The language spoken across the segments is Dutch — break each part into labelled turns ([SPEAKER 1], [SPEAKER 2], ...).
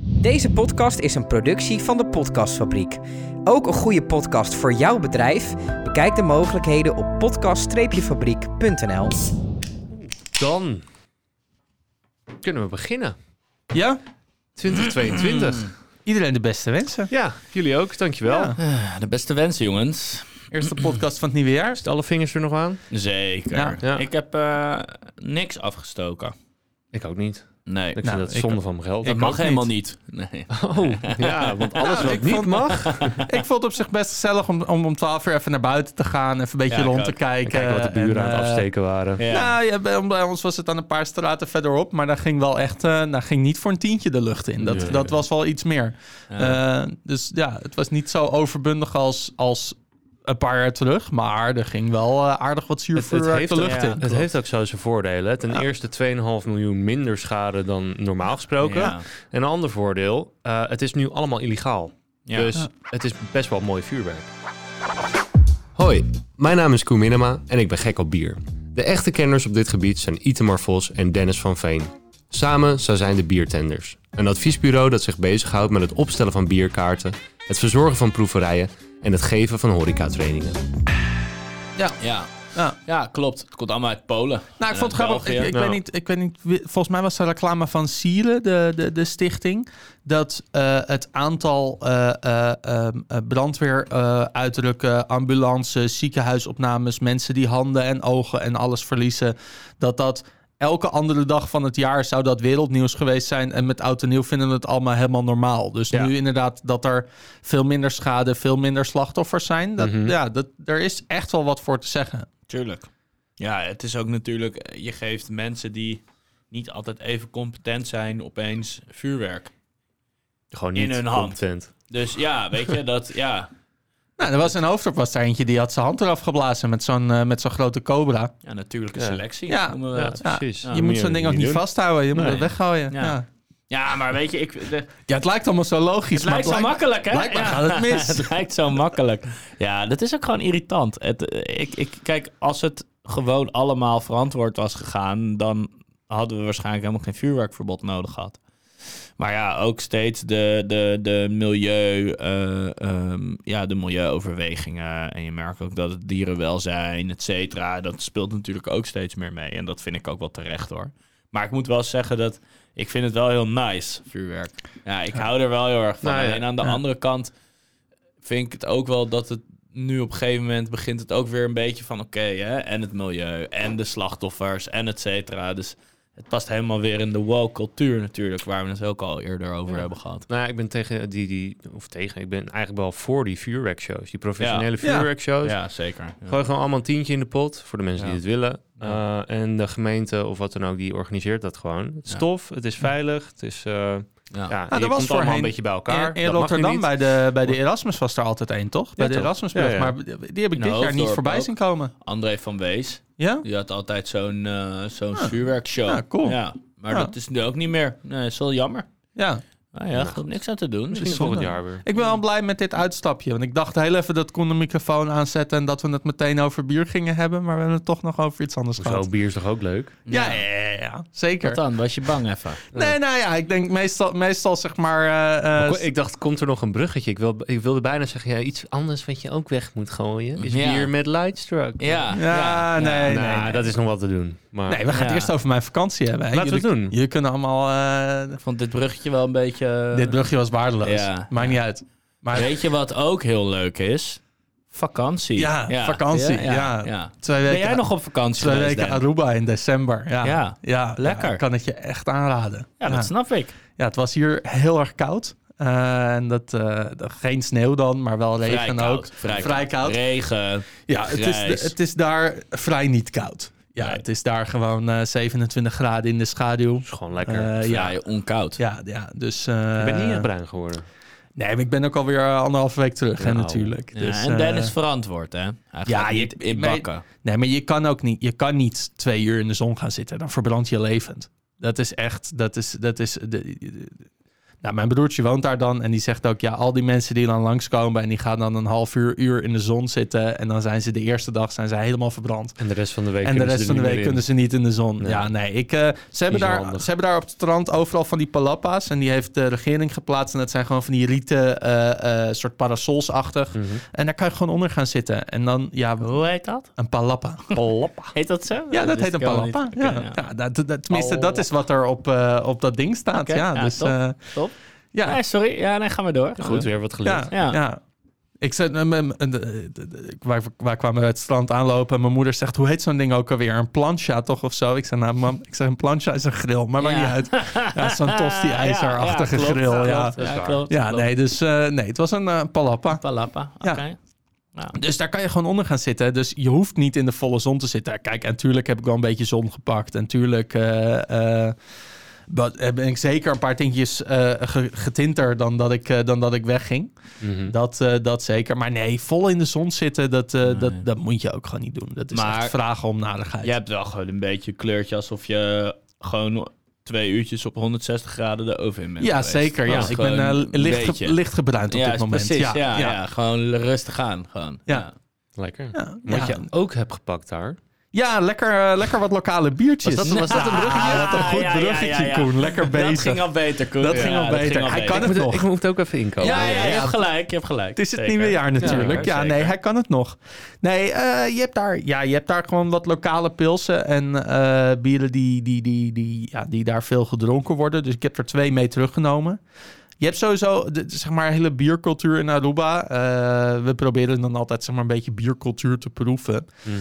[SPEAKER 1] Deze podcast is een productie van de Podcastfabriek. Ook een goede podcast voor jouw bedrijf? Bekijk de mogelijkheden op podcast-fabriek.nl.
[SPEAKER 2] Dan kunnen we beginnen.
[SPEAKER 3] Ja?
[SPEAKER 2] 2022.
[SPEAKER 3] Iedereen de beste wensen.
[SPEAKER 2] Ja, jullie ook. Dankjewel.
[SPEAKER 3] Mm. Ja.
[SPEAKER 4] Ah, De beste wensen, jongens.
[SPEAKER 3] Eerste podcast van het nieuwe jaar.
[SPEAKER 2] Alle vingers er nog aan?
[SPEAKER 4] Zeker.
[SPEAKER 3] Ja.
[SPEAKER 2] Ja.
[SPEAKER 4] Ik heb eh, niks afgestoken.
[SPEAKER 2] Ik ook niet.
[SPEAKER 4] Nee,
[SPEAKER 2] Ik
[SPEAKER 3] Nou,
[SPEAKER 2] vind dat
[SPEAKER 3] ik
[SPEAKER 2] zonde
[SPEAKER 3] ook-
[SPEAKER 2] van mijn geld.
[SPEAKER 4] dat
[SPEAKER 3] ik
[SPEAKER 4] mag
[SPEAKER 3] ook
[SPEAKER 4] helemaal niet. Nee.
[SPEAKER 2] Oh, ja, want alles
[SPEAKER 3] Nou,
[SPEAKER 2] wat
[SPEAKER 3] ik
[SPEAKER 2] niet
[SPEAKER 3] vond-
[SPEAKER 2] mag...
[SPEAKER 3] Ik vond het op zich best gezellig om, om om 12 uur even naar buiten te gaan. Even een beetje
[SPEAKER 4] Ja, ik
[SPEAKER 3] rond
[SPEAKER 4] ook.
[SPEAKER 3] te kijken.
[SPEAKER 2] Kijk wat de buren
[SPEAKER 3] en,
[SPEAKER 2] aan het
[SPEAKER 3] eh,
[SPEAKER 2] afsteken waren.
[SPEAKER 4] Ja.
[SPEAKER 3] Nou, ja, bij, bij ons was het dan een paar straten verderop. Maar daar ging wel echt... eh daar ging niet voor een tientje de lucht in. Dat,
[SPEAKER 4] Nee.
[SPEAKER 3] dat was wel iets meer.
[SPEAKER 4] Ja.
[SPEAKER 3] Eh, dus ja, het was niet zo overbundig als, als een paar jaar terug. Maar er ging wel eh, aardig wat
[SPEAKER 2] Het, het
[SPEAKER 3] zuurvuur uit
[SPEAKER 2] heeft,
[SPEAKER 3] de lucht
[SPEAKER 2] ja,
[SPEAKER 3] in.
[SPEAKER 2] het heeft ook zo zijn voordelen. hè. Ten eerste 2,5 miljoen minder schade dan normaal gesproken.
[SPEAKER 4] Ja.
[SPEAKER 2] En een ander voordeel, eh, het is nu allemaal illegaal.
[SPEAKER 4] Ja.
[SPEAKER 2] Dus
[SPEAKER 3] Ja.
[SPEAKER 2] het is best wel mooi vuurwerk. Hoi, mijn naam is Koen Minema en ik ben gek op bier. De echte kenners op dit gebied zijn Itemar Vos en Dennis van Veen. Samen zij zijn de Biertenders. Een adviesbureau dat zich bezighoudt met het opstellen van bierkaarten, het verzorgen van proeverijen en het geven van horecatrainingen.
[SPEAKER 4] Ja.
[SPEAKER 3] Ja.
[SPEAKER 4] ja, klopt. Het komt allemaal uit Polen.
[SPEAKER 3] Nou, ik
[SPEAKER 4] En
[SPEAKER 3] vond het
[SPEAKER 4] uit
[SPEAKER 3] grappig. Ik,
[SPEAKER 4] België.
[SPEAKER 3] ik
[SPEAKER 2] Ja.
[SPEAKER 3] weet niet, ik weet niet. wie- Volgens mij was er reclame van Sieren, de, de, de stichting. Dat eh, het aantal eh, eh, ehm, eh, brandweer eh, uitdrukken, ambulances, ziekenhuisopnames, mensen die handen en ogen en alles verliezen. Dat dat elke andere dag van het jaar zou dat wereldnieuws geweest zijn. En met oud en nieuw vinden we het allemaal helemaal normaal. Dus
[SPEAKER 2] Ja.
[SPEAKER 3] nu inderdaad dat er veel minder schade, veel minder slachtoffers zijn. Dat,
[SPEAKER 2] Mhm.
[SPEAKER 3] Ja, dat, er is echt wel wat voor te zeggen.
[SPEAKER 4] Tuurlijk. Ja, het is ook natuurlijk... eh, Je geeft mensen die niet altijd even competent zijn opeens vuurwerk.
[SPEAKER 2] Gewoon
[SPEAKER 4] In
[SPEAKER 2] niet
[SPEAKER 4] hun hand.
[SPEAKER 2] competent.
[SPEAKER 4] Dus ja, weet je, dat... Ja,
[SPEAKER 3] Nou, er was in Hoofddorp was er eentje die had zijn hand eraf geblazen met zo'n eh, met zo'n grote cobra.
[SPEAKER 4] ja natuurlijke
[SPEAKER 2] Ja.
[SPEAKER 4] selectie
[SPEAKER 3] Ja.
[SPEAKER 4] noemen we
[SPEAKER 2] Ja,
[SPEAKER 4] dat.
[SPEAKER 3] Ja,
[SPEAKER 2] precies.
[SPEAKER 3] je moet zo'n ding ook niet
[SPEAKER 2] doen.
[SPEAKER 3] vasthouden, je moet
[SPEAKER 2] Nee.
[SPEAKER 3] het weggooien. Ja.
[SPEAKER 4] Ja.
[SPEAKER 3] Ja.
[SPEAKER 4] Ja, maar weet je, ik, de,
[SPEAKER 3] het lijkt allemaal zo logisch,
[SPEAKER 4] Het
[SPEAKER 3] maar
[SPEAKER 4] lijkt zo makkelijk, hè?
[SPEAKER 3] blijkbaar
[SPEAKER 4] Ja.
[SPEAKER 3] gaat het mis.
[SPEAKER 4] het lijkt zo makkelijk. Ja, dat is ook gewoon irritant. Het, eh, ik, ik, kijk, als het gewoon allemaal verantwoord was gegaan, dan hadden we waarschijnlijk helemaal geen vuurwerkverbod nodig gehad. Maar ja, ook steeds de, de, de, milieu, eh, ehm, ja, de milieuoverwegingen. En je merkt ook dat het dierenwelzijn, et cetera, dat speelt natuurlijk ook steeds meer mee. En dat vind ik ook wel terecht hoor. Maar ik moet wel zeggen dat ik vind het wel heel nice, vuurwerk. Ja, ik hou er wel heel erg van.
[SPEAKER 2] Nou ja,
[SPEAKER 4] En aan de
[SPEAKER 3] ja.
[SPEAKER 4] andere kant vind ik het ook wel dat het nu op een gegeven moment begint het ook weer een beetje van oké, hè, en het milieu, en de slachtoffers, en et cetera. Dus het past helemaal weer in de woke cultuur natuurlijk, waar we het ook al eerder over hebben gehad.
[SPEAKER 2] Nou ja, ik ben tegen die, die, of tegen, ik ben eigenlijk wel voor die vuurwerkshows. Die professionele
[SPEAKER 3] Ja.
[SPEAKER 2] vuurwerkshows.
[SPEAKER 4] Ja, zeker. Ja.
[SPEAKER 2] Gooi gewoon allemaal een tientje in de pot voor de mensen
[SPEAKER 4] Ja.
[SPEAKER 2] die het willen. Eh, en de gemeente of wat dan ook, die organiseert dat gewoon. Het is
[SPEAKER 4] Ja.
[SPEAKER 2] tof, het is veilig, het is... eh ja, je
[SPEAKER 3] Nou, er was
[SPEAKER 2] komt allemaal
[SPEAKER 3] voorheen
[SPEAKER 2] een beetje bij elkaar.
[SPEAKER 3] In,
[SPEAKER 2] Dat mag
[SPEAKER 3] in
[SPEAKER 2] nu
[SPEAKER 3] Rotterdam
[SPEAKER 2] niet.
[SPEAKER 3] bij de, bij de Erasmus was er altijd één, toch? Bij
[SPEAKER 2] Ja,
[SPEAKER 3] de
[SPEAKER 2] toch?
[SPEAKER 3] Erasmusbrug,
[SPEAKER 2] Ja, ja.
[SPEAKER 3] maar die heb ik
[SPEAKER 4] In
[SPEAKER 3] dit jaar niet
[SPEAKER 4] Hoofddorp
[SPEAKER 3] voorbij
[SPEAKER 4] ook.
[SPEAKER 3] zien komen.
[SPEAKER 4] André van Wees,
[SPEAKER 3] Ja?
[SPEAKER 4] die had altijd zo'n eh, zo'n vuurwerkshow.
[SPEAKER 3] Ah. Ja, cool.
[SPEAKER 4] Ja, maar
[SPEAKER 3] Ja.
[SPEAKER 4] dat is nu ook niet meer. Nee, dat is wel jammer.
[SPEAKER 3] Ja.
[SPEAKER 4] Ah ja, goed, niks aan te doen.
[SPEAKER 2] Misschien
[SPEAKER 3] is
[SPEAKER 2] volgend
[SPEAKER 3] zonde.
[SPEAKER 2] jaar weer.
[SPEAKER 3] Ik ben wel blij met dit uitstapje, want ik dacht heel even dat ik kon de microfoon aanzetten en dat we het meteen over bier gingen hebben, maar we hebben het toch nog over iets anders
[SPEAKER 2] Zo,
[SPEAKER 3] gehad.
[SPEAKER 2] bier is toch ook leuk?
[SPEAKER 3] Ja, ja, ja, ja, zeker.
[SPEAKER 4] Wat dan? Was je bang even?
[SPEAKER 3] Nee, nou ja, ik denk meestal, meestal zeg maar... eh, eh,
[SPEAKER 2] Ko- Ik dacht, komt er nog een bruggetje? Ik, wil, ik wilde bijna zeggen, ja, iets anders wat je ook weg moet gooien. Is
[SPEAKER 4] Ja.
[SPEAKER 2] bier met lightstruck.
[SPEAKER 4] Ja.
[SPEAKER 3] Ja, nee,
[SPEAKER 2] Nou,
[SPEAKER 3] nee, nee.
[SPEAKER 2] dat is nog wel te doen. Maar
[SPEAKER 3] Nee, we gaan het
[SPEAKER 4] Ja.
[SPEAKER 3] eerst over mijn vakantie hebben. hè.
[SPEAKER 2] Laten we
[SPEAKER 3] jullie,
[SPEAKER 2] het doen.
[SPEAKER 3] Jullie kunnen allemaal... eh,
[SPEAKER 4] Ik vond dit bruggetje wel een beetje...
[SPEAKER 3] dit brugje was waardeloos.
[SPEAKER 4] Ja.
[SPEAKER 3] Maakt niet uit. Maar
[SPEAKER 4] Weet je wat ook heel leuk is? Vakantie.
[SPEAKER 3] Ja, vakantie, ja. twee weken,
[SPEAKER 4] Ben jij nog op vakantie
[SPEAKER 3] twee
[SPEAKER 4] geweest,
[SPEAKER 3] weken
[SPEAKER 4] Dan?
[SPEAKER 3] Aruba in december. Ja,
[SPEAKER 4] Ja, lekker.
[SPEAKER 3] ja, kan het je echt aanraden.
[SPEAKER 4] Ja, dat snap ik.
[SPEAKER 3] Ja, het was hier heel erg koud. Eh, en dat, eh, geen sneeuw dan, maar wel regen
[SPEAKER 4] Vrij
[SPEAKER 3] ook.
[SPEAKER 4] koud, Vrij, koud. Regen.
[SPEAKER 3] Ja, het
[SPEAKER 4] grijs.
[SPEAKER 3] is, het is daar vrij niet koud. Ja,
[SPEAKER 4] Nee.
[SPEAKER 3] het is daar gewoon eh, 27 graden in de schaduw.
[SPEAKER 2] is gewoon lekker.
[SPEAKER 3] Eh, ja,
[SPEAKER 4] vrij onkoud.
[SPEAKER 3] ja, ja, dus...
[SPEAKER 2] ik ben niet
[SPEAKER 3] eh,
[SPEAKER 2] echt bruin geworden.
[SPEAKER 3] Nee, maar ik ben ook alweer eh, anderhalve week terug, hè,
[SPEAKER 2] Nou.
[SPEAKER 3] natuurlijk.
[SPEAKER 4] Ja,
[SPEAKER 3] dus,
[SPEAKER 4] en
[SPEAKER 3] eh,
[SPEAKER 4] Dennis verantwoord, hè? Hij gaat
[SPEAKER 3] ja, je-
[SPEAKER 4] niet in
[SPEAKER 3] maar-
[SPEAKER 4] bakken.
[SPEAKER 3] Nee, maar je kan ook niet, je kan niet twee uur in de zon gaan zitten. Dan verbrand je levend. Dat is echt, dat is, dat is, de- de- de- Nou, mijn broertje woont daar dan en die zegt ook, ja, al die mensen die dan langskomen en die gaan dan een half uur, uur in de zon zitten en dan zijn ze de eerste dag zijn ze helemaal verbrand.
[SPEAKER 2] En de rest van de week
[SPEAKER 3] En de rest van de week kunnen ze niet in de zon.
[SPEAKER 2] Nee.
[SPEAKER 3] Ja, nee. Ik, eh, ze, hebben
[SPEAKER 2] zo
[SPEAKER 3] daar,
[SPEAKER 2] handig.
[SPEAKER 3] ze hebben daar op het strand overal van die palappa's. En die heeft de regering geplaatst. En dat zijn gewoon van die rieten eh, eh, soort parasolsachtig. En daar kan je gewoon onder gaan zitten. En dan, ja,
[SPEAKER 4] Hoe heet dat?
[SPEAKER 3] een palappa.
[SPEAKER 2] Palappa.
[SPEAKER 4] Heet dat zo?
[SPEAKER 3] Ja, dat
[SPEAKER 4] wist
[SPEAKER 3] heet een Oh.
[SPEAKER 4] ik helemaal
[SPEAKER 3] palappa.
[SPEAKER 4] niet.
[SPEAKER 3] Ja,
[SPEAKER 4] Oké,
[SPEAKER 3] ja, dat, dat, tenminste, dat is wat er op, eh, op dat ding staat.
[SPEAKER 4] Oké,
[SPEAKER 3] ja,
[SPEAKER 4] ja,
[SPEAKER 3] dus
[SPEAKER 4] top.
[SPEAKER 3] eh,
[SPEAKER 4] Top.
[SPEAKER 3] ja,
[SPEAKER 4] Nee, sorry. Ja, nee, gaan we door.
[SPEAKER 2] Goed, weer wat geleerd.
[SPEAKER 3] Ja, ja.
[SPEAKER 4] Ja.
[SPEAKER 3] Ik zet, m- m- m- de- de- de- ik- wij, wij kwamen uit het strand aanlopen en mijn moeder zegt, hoe heet zo'n ding ook alweer? Een plancha toch of zo? Ik zeg, nou mam, ik zeg, een plancha is een grill, maar maakt
[SPEAKER 4] Ja.
[SPEAKER 3] niet uit. Ja, zo'n tosti-ijzerachtige
[SPEAKER 4] Eh, Ja, klopt,
[SPEAKER 3] grill, ja.
[SPEAKER 4] klopt, Ja,
[SPEAKER 2] waar.
[SPEAKER 4] klopt.
[SPEAKER 3] Ja,
[SPEAKER 4] klopt.
[SPEAKER 3] nee, dus eh, nee, het was een eh, palappa.
[SPEAKER 4] Palappa.
[SPEAKER 3] Ja.
[SPEAKER 4] Oké. Nou. Ja.
[SPEAKER 3] Dus daar kan je gewoon onder gaan zitten. Dus je hoeft niet in de volle zon te zitten. Kijk, en tuurlijk heb ik wel een beetje zon gepakt. En tuurlijk eh, eh, wat- heb ik zeker een paar tintjes eh, ge- getinter dan dat ik, eh, dan dat ik wegging.
[SPEAKER 2] Mhm.
[SPEAKER 3] Dat, eh, dat zeker. Maar nee, vol in de zon zitten, dat, eh,
[SPEAKER 4] Nee.
[SPEAKER 3] dat, dat moet je ook gewoon niet doen. Dat is
[SPEAKER 4] Maar-
[SPEAKER 3] echt vragen om nadigheid.
[SPEAKER 4] Je hebt wel gewoon een beetje kleurtje alsof je gewoon twee uurtjes op 160 graden de oven in bent
[SPEAKER 3] ja,
[SPEAKER 4] geweest.
[SPEAKER 3] zeker.
[SPEAKER 4] Dat
[SPEAKER 3] Ja.
[SPEAKER 4] is
[SPEAKER 3] Ik ben
[SPEAKER 4] gewoon
[SPEAKER 3] eh,
[SPEAKER 4] een
[SPEAKER 3] licht,
[SPEAKER 4] beetje.
[SPEAKER 3] ge- licht gebruind op
[SPEAKER 4] ja,
[SPEAKER 3] dit moment.
[SPEAKER 4] Precies, ja, ja,
[SPEAKER 3] ja.
[SPEAKER 4] gewoon rustig aan. Gewoon.
[SPEAKER 3] Ja.
[SPEAKER 2] Lekker.
[SPEAKER 3] Ja,
[SPEAKER 2] Wat
[SPEAKER 3] ja.
[SPEAKER 2] je ook hebt gepakt daar.
[SPEAKER 3] Ja, lekker, eh, lekker wat lokale biertjes.
[SPEAKER 2] Was dat- was dat een bruggetje?
[SPEAKER 3] Ah, wat een goed
[SPEAKER 4] Ja, ja, ja,
[SPEAKER 3] bruggetje,
[SPEAKER 4] ja.
[SPEAKER 3] Koen. Lekker bezig.
[SPEAKER 4] Dat ging al beter, Koen.
[SPEAKER 3] Dat
[SPEAKER 4] Ja,
[SPEAKER 3] ging al beter. Hij kan
[SPEAKER 2] Ik
[SPEAKER 3] het
[SPEAKER 2] moet,
[SPEAKER 3] nog.
[SPEAKER 2] ik moet ook even inkomen.
[SPEAKER 4] Ja, ja,
[SPEAKER 3] Ja,
[SPEAKER 4] je
[SPEAKER 3] ja.
[SPEAKER 4] hebt gelijk, je hebt gelijk.
[SPEAKER 3] Het is het
[SPEAKER 4] Zeker.
[SPEAKER 3] nieuwe jaar natuurlijk.
[SPEAKER 4] Ja,
[SPEAKER 3] Ja,
[SPEAKER 4] zeker.
[SPEAKER 3] nee, hij kan het nog. Nee, eh, je, hebt daar, ja, je hebt daar gewoon wat lokale pilsen en eh, bieren die, die, die, die, ja, die daar veel gedronken worden. Dus ik heb er twee mee teruggenomen. Je hebt sowieso de, zeg maar, een hele biercultuur in Aruba. Eh, we proberen dan altijd zeg maar, een beetje biercultuur te proeven.
[SPEAKER 2] Mhm.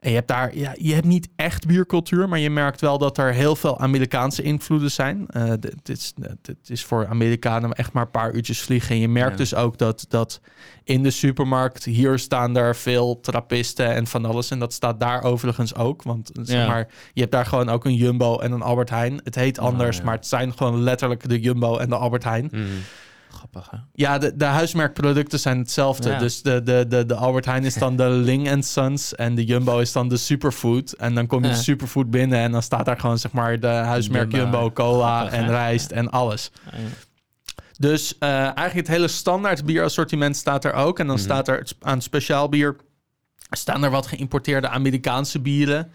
[SPEAKER 3] En je hebt daar, ja, je hebt niet echt biercultuur, maar je merkt wel dat er heel veel Amerikaanse invloeden zijn. Eh, d- Het is, het is voor Amerikanen echt maar een paar uurtjes vliegen. En je merkt
[SPEAKER 4] Ja.
[SPEAKER 3] dus ook dat, dat in de supermarkt, hier staan daar veel trappisten en van alles. En dat staat daar overigens ook. Want eh, zeg
[SPEAKER 4] Ja.
[SPEAKER 3] maar, je hebt daar gewoon ook een Jumbo en een Albert Heijn. Het heet anders,
[SPEAKER 4] ja. Mm.
[SPEAKER 3] maar het zijn gewoon letterlijk de Jumbo en de Albert Heijn.
[SPEAKER 2] Mhm.
[SPEAKER 4] Grappig, hè?
[SPEAKER 3] Ja, de, de huismerkproducten zijn hetzelfde.
[SPEAKER 4] Ja.
[SPEAKER 3] Dus de, de, de, de Albert Heijn is dan de Ling Sons en de Jumbo is dan de Superfood. En dan kom je
[SPEAKER 4] Ja.
[SPEAKER 3] de Superfood binnen en dan staat daar gewoon zeg maar de huismerk
[SPEAKER 4] Jumbo.
[SPEAKER 3] Jumbo, cola
[SPEAKER 4] Grappig,
[SPEAKER 3] en
[SPEAKER 4] hè?
[SPEAKER 3] rijst en alles.
[SPEAKER 4] Ja, ja.
[SPEAKER 3] Dus eh, eigenlijk het hele standaard bierassortiment staat er ook. En
[SPEAKER 4] Mhm.
[SPEAKER 3] dan staat er het- aan speciaal bier staan er wat geïmporteerde Amerikaanse bieren.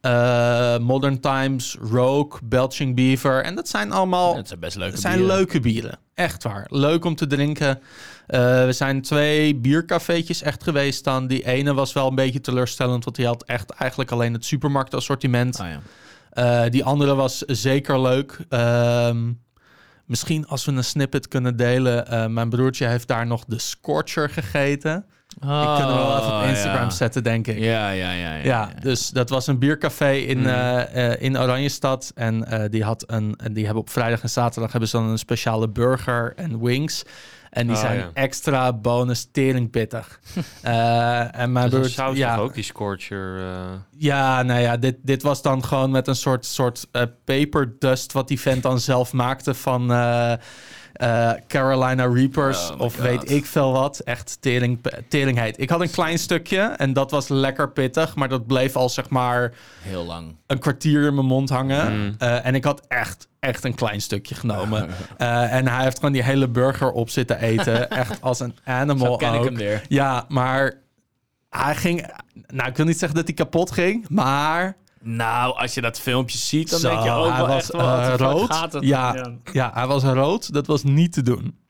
[SPEAKER 3] Eh, Modern Times, Rogue, Belching Beaver. En dat zijn allemaal
[SPEAKER 4] Het zijn best leuke
[SPEAKER 3] Oh, het zijn
[SPEAKER 4] bieren.
[SPEAKER 3] leuke bieren. Echt waar. Leuk om te drinken. Eh, we zijn twee biercafeetjes echt geweest dan. Die ene was wel een beetje teleurstellend, want die had echt eigenlijk alleen het supermarktassortiment.
[SPEAKER 4] Ah, ja.
[SPEAKER 3] Eh, die andere was zeker leuk. Ehm, misschien als we een snippet kunnen delen. Eh, mijn broertje heeft daar nog de Scorcher gegeten. Die kunnen we wel even op
[SPEAKER 4] Oh,
[SPEAKER 3] Instagram
[SPEAKER 4] ja.
[SPEAKER 3] zetten, denk ik.
[SPEAKER 4] Ja, ja, ja. ja,
[SPEAKER 3] Ja,
[SPEAKER 4] ja.
[SPEAKER 3] dus dat was een biercafé in, eh, eh, in Oranjestad. En eh, die, had een, en die hebben op vrijdag en zaterdag hebben ze dan een speciale burger en wings. En die
[SPEAKER 2] Oh,
[SPEAKER 3] zijn
[SPEAKER 2] ja.
[SPEAKER 3] extra bonus teringpittig. Eh, en mijn
[SPEAKER 2] Dat
[SPEAKER 3] broer,
[SPEAKER 2] is saus
[SPEAKER 3] ja,
[SPEAKER 2] toch ook, die scorcher. eh,
[SPEAKER 3] ja, nou ja, dit, dit was dan gewoon met een soort, soort eh, paper dust... wat die vent dan zelf maakte van eh, eh, Carolina Reapers
[SPEAKER 4] Oh my
[SPEAKER 3] of
[SPEAKER 4] God.
[SPEAKER 3] weet ik veel wat. Echt tering, teringheid. Ik had een klein stukje en dat was lekker pittig... maar dat bleef al zeg maar
[SPEAKER 4] Heel lang.
[SPEAKER 3] een kwartier in mijn mond hangen.
[SPEAKER 2] Mm.
[SPEAKER 3] Eh, en ik had echt, echt een klein stukje genomen. Eh, en hij heeft gewoon die hele burger op zitten eten. echt als een animal
[SPEAKER 4] Zo ken ik
[SPEAKER 3] ook.
[SPEAKER 4] hem weer.
[SPEAKER 3] Ja, maar hij ging... Nou, ik wil niet zeggen dat hij kapot ging, maar...
[SPEAKER 4] Nou, als je dat filmpje ziet, dan
[SPEAKER 3] Zo,
[SPEAKER 4] denk je ook
[SPEAKER 3] hij
[SPEAKER 4] wel
[SPEAKER 3] was
[SPEAKER 4] echt wel,
[SPEAKER 3] eh,
[SPEAKER 4] wat de fuck
[SPEAKER 3] rood.
[SPEAKER 4] Gaat het?
[SPEAKER 3] ja, ja, hij was rood. Dat was niet te doen.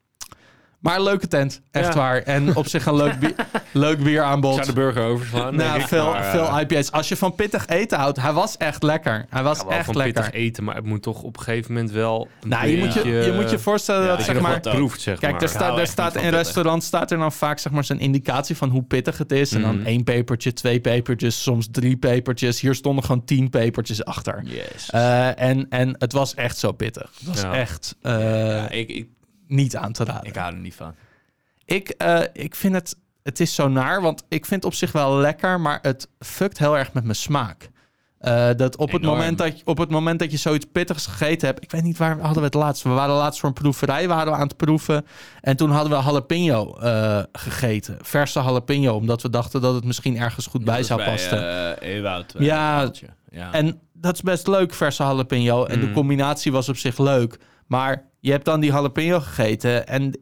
[SPEAKER 3] Maar een leuke tent, echt
[SPEAKER 4] Ja.
[SPEAKER 3] waar. En op zich een leuk, bi- leuk bieraanbod.
[SPEAKER 2] Ik zou de burger overslaan.
[SPEAKER 3] Nou,
[SPEAKER 2] denk ik,
[SPEAKER 3] veel,
[SPEAKER 2] maar, eh,
[SPEAKER 3] veel IPA's. Als je van pittig eten houdt, hij was echt lekker. Hij was
[SPEAKER 2] ja, wel
[SPEAKER 3] echt
[SPEAKER 2] van
[SPEAKER 3] lekker.
[SPEAKER 2] pittig eten, maar het moet toch op een gegeven moment wel. een
[SPEAKER 3] Nou, je moet je,
[SPEAKER 2] beetje-
[SPEAKER 3] je moet je voorstellen
[SPEAKER 4] Ja,
[SPEAKER 3] dat,
[SPEAKER 4] je
[SPEAKER 2] dat
[SPEAKER 3] zeg
[SPEAKER 2] je nog
[SPEAKER 3] maar...
[SPEAKER 2] wat proeft, zeg
[SPEAKER 3] Kijk, dus-
[SPEAKER 2] maar.
[SPEAKER 3] daar, staat,
[SPEAKER 4] Ik hou
[SPEAKER 3] daar
[SPEAKER 4] echt
[SPEAKER 3] staat
[SPEAKER 4] niet
[SPEAKER 3] in
[SPEAKER 4] van pittig.
[SPEAKER 3] restaurant staat er dan vaak zeg maar zo'n indicatie van hoe pittig het is. En
[SPEAKER 4] Mhm.
[SPEAKER 3] dan één pepertje, twee pepertjes, soms drie pepertjes. Hier stonden gewoon tien pepertjes achter.
[SPEAKER 4] Yes.
[SPEAKER 3] Eh, en, en het was echt zo pittig. Het was
[SPEAKER 2] Ja.
[SPEAKER 3] echt eh,
[SPEAKER 4] Ja, ik, ik,
[SPEAKER 3] niet aan te raden.
[SPEAKER 4] ik hou er niet van.
[SPEAKER 3] Ik, eh, ik vind het, het is zo naar, want ik vind het op zich wel lekker, maar het fuckt heel erg met mijn smaak. Eh, dat op het,
[SPEAKER 4] Enorm.
[SPEAKER 3] moment dat, je- op het moment dat je zoiets pittigs gegeten hebt. Ik weet niet waar hadden we het laatst. We waren laatst voor een proeverij waren we aan het proeven. En toen hadden we jalapeno eh, gegeten. Verse jalapeno. Omdat we dachten dat het misschien ergens goed bij
[SPEAKER 4] Dat
[SPEAKER 3] zou
[SPEAKER 4] is bij,
[SPEAKER 3] passen.
[SPEAKER 4] eh, Ewoud. eh,
[SPEAKER 3] Ja,
[SPEAKER 4] Ewoudje. ja. Mm.
[SPEAKER 3] En dat is best leuk, verse jalapeno. En de combinatie was op zich leuk. Maar Je hebt dan die jalapeno gegeten en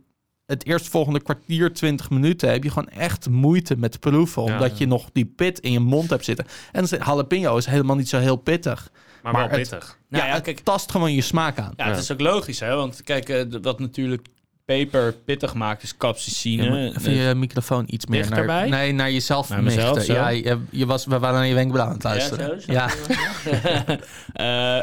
[SPEAKER 3] het eerstvolgende kwartier, 20 minuten heb je gewoon echt moeite met proeven.
[SPEAKER 5] Ja,
[SPEAKER 3] Omdat
[SPEAKER 5] ja.
[SPEAKER 3] je nog die pit in je mond hebt zitten. En ze- jalapeno is helemaal niet zo heel pittig.
[SPEAKER 5] Maar,
[SPEAKER 3] Maar
[SPEAKER 5] wel
[SPEAKER 3] het-
[SPEAKER 5] pittig.
[SPEAKER 4] Nou
[SPEAKER 3] ja,
[SPEAKER 4] ja,
[SPEAKER 3] het
[SPEAKER 4] kijk.
[SPEAKER 3] tast gewoon je smaak aan.
[SPEAKER 4] Ja, het is ook logisch, hè? Want kijk, eh, d- wat natuurlijk peper pittig maakt, is capsaicine.
[SPEAKER 3] Even je microfoon iets meer
[SPEAKER 4] Dichterbij?
[SPEAKER 3] naar, nee, naar jezelf
[SPEAKER 4] eh, Naar mezelf,
[SPEAKER 3] richten.
[SPEAKER 4] zo?
[SPEAKER 3] Ja, je, je was, we waren naar je wenkbrauw aan het
[SPEAKER 4] zo
[SPEAKER 3] luisteren.
[SPEAKER 4] is dat.
[SPEAKER 3] Ja,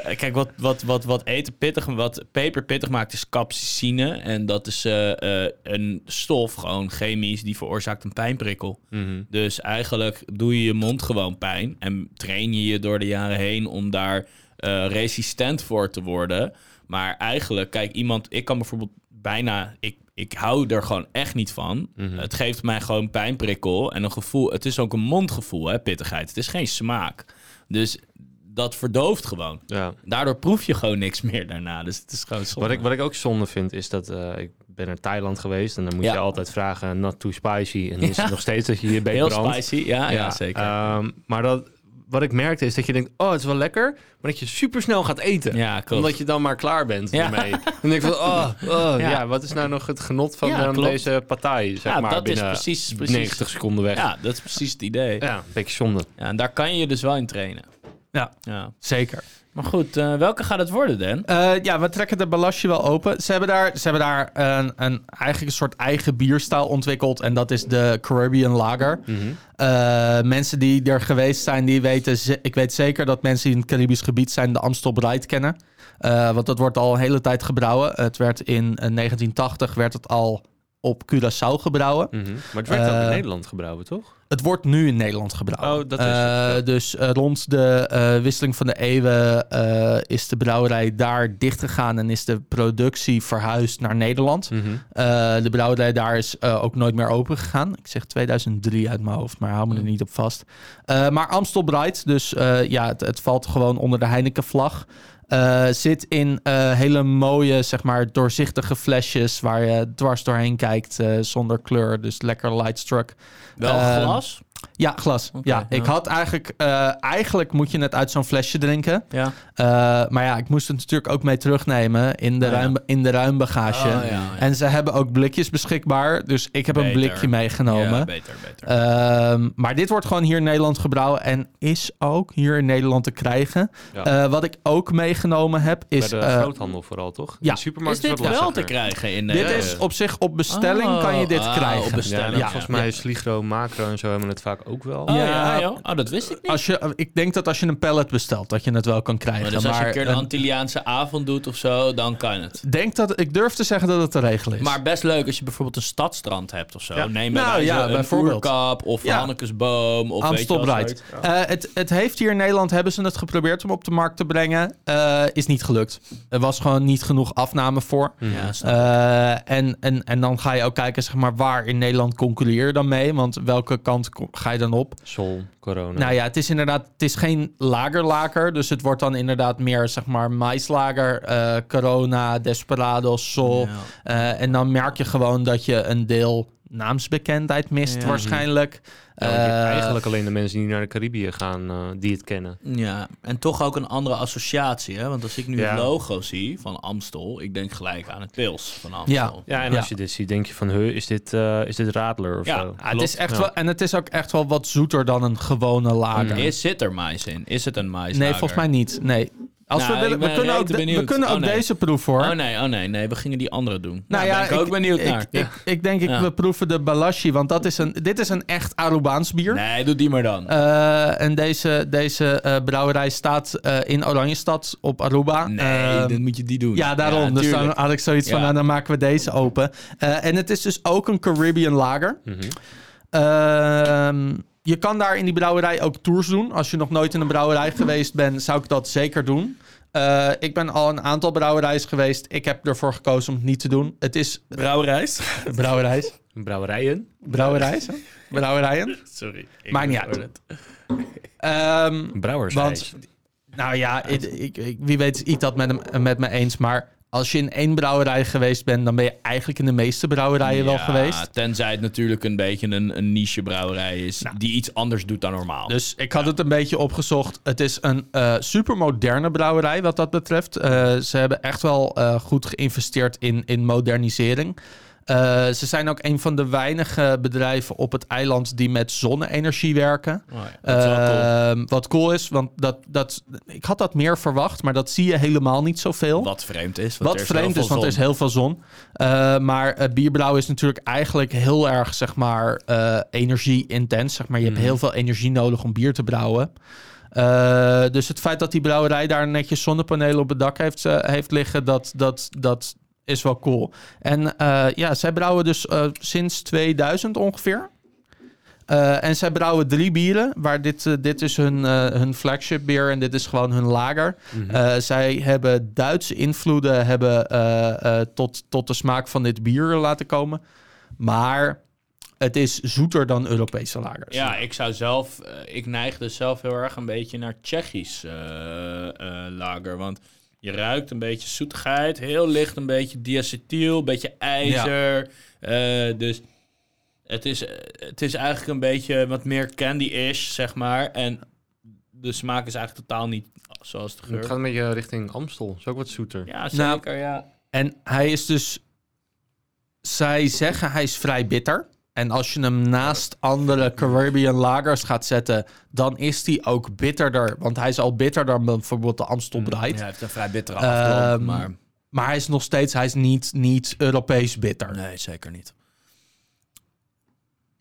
[SPEAKER 4] Eh, kijk, wat, wat, wat, wat eten pittig, wat peper pittig maakt, is capsaicine. En dat is eh, eh, een stof, gewoon chemisch, die veroorzaakt een pijnprikkel.
[SPEAKER 2] Mhm.
[SPEAKER 4] Dus eigenlijk doe je je mond gewoon pijn. En train je je door de jaren heen om daar eh, resistent voor te worden. Maar eigenlijk, kijk, iemand, ik kan bijvoorbeeld bijna, ik, ik hou er gewoon echt niet van.
[SPEAKER 2] Mhm.
[SPEAKER 4] Het geeft mij gewoon pijnprikkel en een gevoel. Het is ook een mondgevoel, hè, pittigheid. Het is geen smaak. Dus dat verdooft gewoon.
[SPEAKER 2] Ja.
[SPEAKER 4] Daardoor proef je gewoon niks meer daarna. Dus het is gewoon zonde.
[SPEAKER 2] Wat ik, wat ik ook zonde vind, is dat eh, ik ben naar Thailand geweest en dan moet
[SPEAKER 4] Ja.
[SPEAKER 2] je altijd vragen, not too spicy. En dan is het nog steeds dat je je bek
[SPEAKER 4] Heel
[SPEAKER 2] brandt.
[SPEAKER 4] spicy, Ah, ja, ja, zeker.
[SPEAKER 2] ehm, maar dat, wat ik merkte is dat je denkt, oh, het is wel lekker, maar dat je supersnel gaat eten.
[SPEAKER 4] ja, klopt.
[SPEAKER 2] Omdat je dan maar klaar bent
[SPEAKER 4] Ja.
[SPEAKER 2] ermee. En dan denk ik van, oh, oh ja.
[SPEAKER 4] Ja.
[SPEAKER 2] wat is nou nog het genot van
[SPEAKER 4] Ja,
[SPEAKER 2] eh,
[SPEAKER 4] klopt.
[SPEAKER 2] deze partij, zeg
[SPEAKER 4] Ja,
[SPEAKER 2] maar,
[SPEAKER 4] dat is
[SPEAKER 2] binnen
[SPEAKER 4] precies, precies.
[SPEAKER 2] 90 seconden weg. Ja.
[SPEAKER 4] Ja, dat is precies het idee. Ja.
[SPEAKER 2] een beetje zonde.
[SPEAKER 4] en daar kan je dus wel in trainen.
[SPEAKER 3] Ja.
[SPEAKER 4] ja.
[SPEAKER 3] zeker.
[SPEAKER 4] Maar goed, eh, welke gaat het worden, Dan?
[SPEAKER 3] Eh, ja, we trekken de balasje wel open. Ze hebben daar, ze hebben daar een, een, eigenlijk een soort eigen bierstijl ontwikkeld. En dat is de Caribbean Lager.
[SPEAKER 2] Mhm,
[SPEAKER 3] Eh, mensen die er geweest zijn, die weten... ze- ik weet zeker dat mensen die in het Caribisch gebied zijn... de Amstel Bright kennen. Eh, want dat wordt al een hele tijd gebrouwen. Het werd in eh, 1980 werd het al op Curaçao gebrouwen.
[SPEAKER 2] Maar het werd ook in
[SPEAKER 3] Eh,
[SPEAKER 2] Nederland gebrouwen, toch?
[SPEAKER 3] Het wordt nu in Nederland gebrouwen.
[SPEAKER 2] Oh, dat is het,
[SPEAKER 3] Eh,
[SPEAKER 2] ja.
[SPEAKER 3] Dus eh, rond de eh, wisseling van de eeuwen eh, is de brouwerij daar dichtgegaan en is de productie verhuisd naar
[SPEAKER 2] Hm.
[SPEAKER 3] Nederland.
[SPEAKER 2] mhm.
[SPEAKER 3] Eh, de brouwerij daar is eh, ook nooit meer open gegaan. Ik zeg 2003 uit mijn hoofd, maar hou
[SPEAKER 2] Hm.
[SPEAKER 3] me er niet op vast. Eh, maar Amstel Bright, dus eh, ja, het, het valt gewoon onder de Heineken-vlag. Eh, zit in eh, hele mooie, zeg maar, doorzichtige flesjes waar je dwars doorheen kijkt eh, zonder kleur. Dus lekker lightstruck.
[SPEAKER 4] Wel
[SPEAKER 3] Ehm,
[SPEAKER 4] glas?
[SPEAKER 3] Ja, glas. ja,
[SPEAKER 4] ja.
[SPEAKER 3] ik had eigenlijk... eh, eigenlijk moet je het uit zo'n flesje drinken.
[SPEAKER 4] Ja.
[SPEAKER 3] Eh, maar ja, ik moest het natuurlijk ook mee terugnemen in de,
[SPEAKER 4] Ah, ja.
[SPEAKER 3] ruim, in de ruimbagage.
[SPEAKER 4] Oh, ja, ja.
[SPEAKER 3] En ze hebben ook blikjes beschikbaar. Dus ik heb een
[SPEAKER 4] Beter.
[SPEAKER 3] blikje meegenomen.
[SPEAKER 4] Ja, beter, beter.
[SPEAKER 3] Ehm, maar dit wordt gewoon hier in Nederland gebrouwen en is ook hier in Nederland te krijgen.
[SPEAKER 2] Ja.
[SPEAKER 3] Eh, wat ik ook meegenomen heb
[SPEAKER 2] Bij
[SPEAKER 3] is...
[SPEAKER 2] de
[SPEAKER 3] eh,
[SPEAKER 2] groothandel vooral, toch?
[SPEAKER 3] ja.
[SPEAKER 2] De supermarkt
[SPEAKER 4] is
[SPEAKER 2] is,
[SPEAKER 4] dit
[SPEAKER 2] wat
[SPEAKER 4] wel te
[SPEAKER 2] lastiger.
[SPEAKER 4] krijgen in eh,
[SPEAKER 3] dit
[SPEAKER 4] Nederland?
[SPEAKER 3] is op zich op bestelling kan je dit
[SPEAKER 4] Oh, ah, op
[SPEAKER 3] krijgen.
[SPEAKER 4] bestelling.
[SPEAKER 2] Ja, nou,
[SPEAKER 3] Ja.
[SPEAKER 2] volgens mij Sligro, Macro en zo hebben het vaak ook wel.
[SPEAKER 4] Oh,
[SPEAKER 3] Ja.
[SPEAKER 4] ja, joh. Oh, dat wist ik niet.
[SPEAKER 3] Als je, ik denk dat als je een pallet bestelt, dat je het wel kan
[SPEAKER 4] Maar
[SPEAKER 3] krijgen.
[SPEAKER 4] dus als je een keer een
[SPEAKER 3] eh,
[SPEAKER 4] Antilliaanse avond doet of zo, dan kan het.
[SPEAKER 3] denk dat, ik durf te zeggen dat het te regelen is.
[SPEAKER 4] Maar best leuk als je bijvoorbeeld een stadstrand hebt of zo. Neem bij
[SPEAKER 3] Nou,
[SPEAKER 4] wijze
[SPEAKER 3] ja,
[SPEAKER 4] een
[SPEAKER 3] bijvoorbeeld.
[SPEAKER 4] oerkap of
[SPEAKER 3] Ja.
[SPEAKER 4] Hannekesboom. Of
[SPEAKER 3] Amstel
[SPEAKER 4] weet je wel,
[SPEAKER 3] Bright.
[SPEAKER 4] zoiets.
[SPEAKER 3] Eh, het, het heeft hier in Nederland, hebben ze het geprobeerd om op de markt te brengen. Eh, is niet gelukt. Er was gewoon niet genoeg afname voor.
[SPEAKER 4] Ja, snap ik.
[SPEAKER 3] Eh, en, en, en dan ga je ook kijken, zeg maar, waar in Nederland concurreer je dan mee? Want welke kant ko- ga je dan op?
[SPEAKER 2] Sol, corona.
[SPEAKER 3] Nou ja, het is inderdaad, het is geen lagerlaker. Dus het wordt dan inderdaad meer, zeg maar, maislager, eh, corona, desperado, sol.
[SPEAKER 4] Ja.
[SPEAKER 3] Eh, en dan merk je gewoon dat je een deel naamsbekendheid mist
[SPEAKER 4] Ja.
[SPEAKER 3] waarschijnlijk.
[SPEAKER 2] Ja, want je hebt
[SPEAKER 3] Eh,
[SPEAKER 2] Nou, eigenlijk alleen de mensen die naar de Caribië gaan, eh, die het kennen.
[SPEAKER 4] Ja, en toch ook een andere associatie. Hè? Want als ik nu
[SPEAKER 2] Ja.
[SPEAKER 4] het logo zie van Amstel, ik denk gelijk aan het pils van Amstel.
[SPEAKER 2] Ja, en
[SPEAKER 3] Ja.
[SPEAKER 2] als je dit ziet, denk je van, huh, is dit, eh, is dit Radler of
[SPEAKER 4] Ja,
[SPEAKER 2] zo?
[SPEAKER 3] Ja, ah, het is echt
[SPEAKER 2] Ja.
[SPEAKER 3] wel, en het is ook echt wel wat zoeter dan een gewone lager.
[SPEAKER 4] Is, zit er mais in? Is het een mais?
[SPEAKER 3] nee, volgens mij niet. Nee. Als
[SPEAKER 4] Nou,
[SPEAKER 3] we, willen,
[SPEAKER 4] ik
[SPEAKER 3] we
[SPEAKER 4] ben
[SPEAKER 3] kunnen ook,
[SPEAKER 4] rete
[SPEAKER 3] de- we
[SPEAKER 4] benieuwd.
[SPEAKER 3] kunnen
[SPEAKER 4] Oh,
[SPEAKER 3] ook
[SPEAKER 4] nee.
[SPEAKER 3] deze proef hoor.
[SPEAKER 4] Oh nee, oh nee, nee, we gingen die andere doen. Nou, ja, ben ik, ook benieuwd
[SPEAKER 3] ik,
[SPEAKER 4] naar.
[SPEAKER 3] Ik, ik denk, ik, we proeven de Balashi, want dat is een, dit is een echt Arubaans bier.
[SPEAKER 4] Nee, doe die maar dan.
[SPEAKER 3] Eh, en deze, deze eh, brouwerij staat eh, in Oranjestad op Aruba.
[SPEAKER 4] nee,
[SPEAKER 3] Ehm,
[SPEAKER 4] dan moet je die doen.
[SPEAKER 3] Ja, daarom. dus dan
[SPEAKER 4] tuurlijk.
[SPEAKER 3] had ik zoiets van,
[SPEAKER 4] Ja.
[SPEAKER 3] nou, dan maken we deze open. Eh, en het is dus ook een Caribbean lager.
[SPEAKER 4] Mhm.
[SPEAKER 3] Ehm, je kan daar in die brouwerij ook tours doen. Als je nog nooit in een brouwerij geweest bent, zou ik dat zeker doen. Eh, ik ben al een aantal brouwerijen geweest. Ik heb ervoor gekozen om het niet te doen. Het is eh,
[SPEAKER 4] Brouwerijs.
[SPEAKER 3] brouwerijs.
[SPEAKER 2] Brouwerijen.
[SPEAKER 3] Brouwerijs. hè? Brouwerijen.
[SPEAKER 4] Sorry. ik
[SPEAKER 3] Maakt niet
[SPEAKER 4] ben
[SPEAKER 3] uit.
[SPEAKER 4] toilet.
[SPEAKER 3] Ehm,
[SPEAKER 2] Brouwers.
[SPEAKER 3] Want- nou ja, ik, ik, ik- wie weet is ik dat met, hem, met me eens. Maar Als je in één brouwerij geweest bent, dan ben je eigenlijk in de meeste brouwerijen wel
[SPEAKER 4] Ja,
[SPEAKER 3] geweest.
[SPEAKER 4] Tenzij het natuurlijk een beetje een, een niche brouwerij is die iets anders doet dan normaal.
[SPEAKER 3] Nou. Dus ik had het een beetje opgezocht. Het is een eh supermoderne brouwerij wat dat betreft. Eh, ze hebben echt wel eh, goed geïnvesteerd in, in modernisering. Eh, ze zijn ook een van de weinige bedrijven op het eiland die met zonne-energie werken.
[SPEAKER 4] Oh ja, dat is wel cool.
[SPEAKER 3] Ehm, wat cool is, want dat, dat, ik had dat meer verwacht, maar dat zie je helemaal niet zoveel.
[SPEAKER 4] Wat vreemd is. want
[SPEAKER 3] Wat
[SPEAKER 4] er
[SPEAKER 3] vreemd
[SPEAKER 4] heel
[SPEAKER 3] is,
[SPEAKER 4] veel
[SPEAKER 3] want er is
[SPEAKER 4] zon.
[SPEAKER 3] heel veel zon. Eh, maar eh bierbrouw is natuurlijk eigenlijk heel erg, zeg maar, eh, energie-intens. Zeg maar. Je
[SPEAKER 4] Mhm.
[SPEAKER 3] hebt heel veel energie nodig om bier te brouwen. Eh, dus het feit dat die brouwerij daar netjes zonnepanelen op het dak heeft, eh, heeft liggen, dat, dat, dat is wel cool. En eh, ja, zij brouwen dus eh, sinds 2000 ongeveer. Eh, en zij brouwen drie bieren, waar dit, eh, dit is hun, eh, hun flagship bier en dit is gewoon hun lager.
[SPEAKER 4] Mhm.
[SPEAKER 3] Eh, zij hebben Duitse invloeden hebben, eh, eh, tot, tot de smaak van dit bier laten komen. Maar het is zoeter dan Europese lagers.
[SPEAKER 4] Ja, ik zou zelf... eh, ik neig dus zelf heel erg een beetje naar Tsjechisch eh, eh, lager. Want je ruikt een beetje zoetigheid. Heel licht een beetje diacetyl. Een beetje ijzer. eh, dus het is, eh, het is eigenlijk een beetje wat meer candy-ish, zeg maar. En de smaak is eigenlijk totaal niet zoals de
[SPEAKER 2] Het
[SPEAKER 4] geur.
[SPEAKER 2] gaat een beetje richting Amstel. Is ook wat zoeter.
[SPEAKER 4] Ja,
[SPEAKER 3] Nou,
[SPEAKER 4] zeker, ja.
[SPEAKER 3] En hij is dus... Zij zeggen hij is vrij bitter. En als je hem naast andere Caribbean lagers gaat zetten... dan is hij ook bitterder. Want hij is al bitterder dan bijvoorbeeld de Amstel Breit.
[SPEAKER 4] Ja, hij heeft een vrij bittere
[SPEAKER 3] Ehm,
[SPEAKER 4] afdronk, maar...
[SPEAKER 3] Maar hij is nog steeds hij is niet, niet Europees bitter.
[SPEAKER 4] Nee, zeker niet.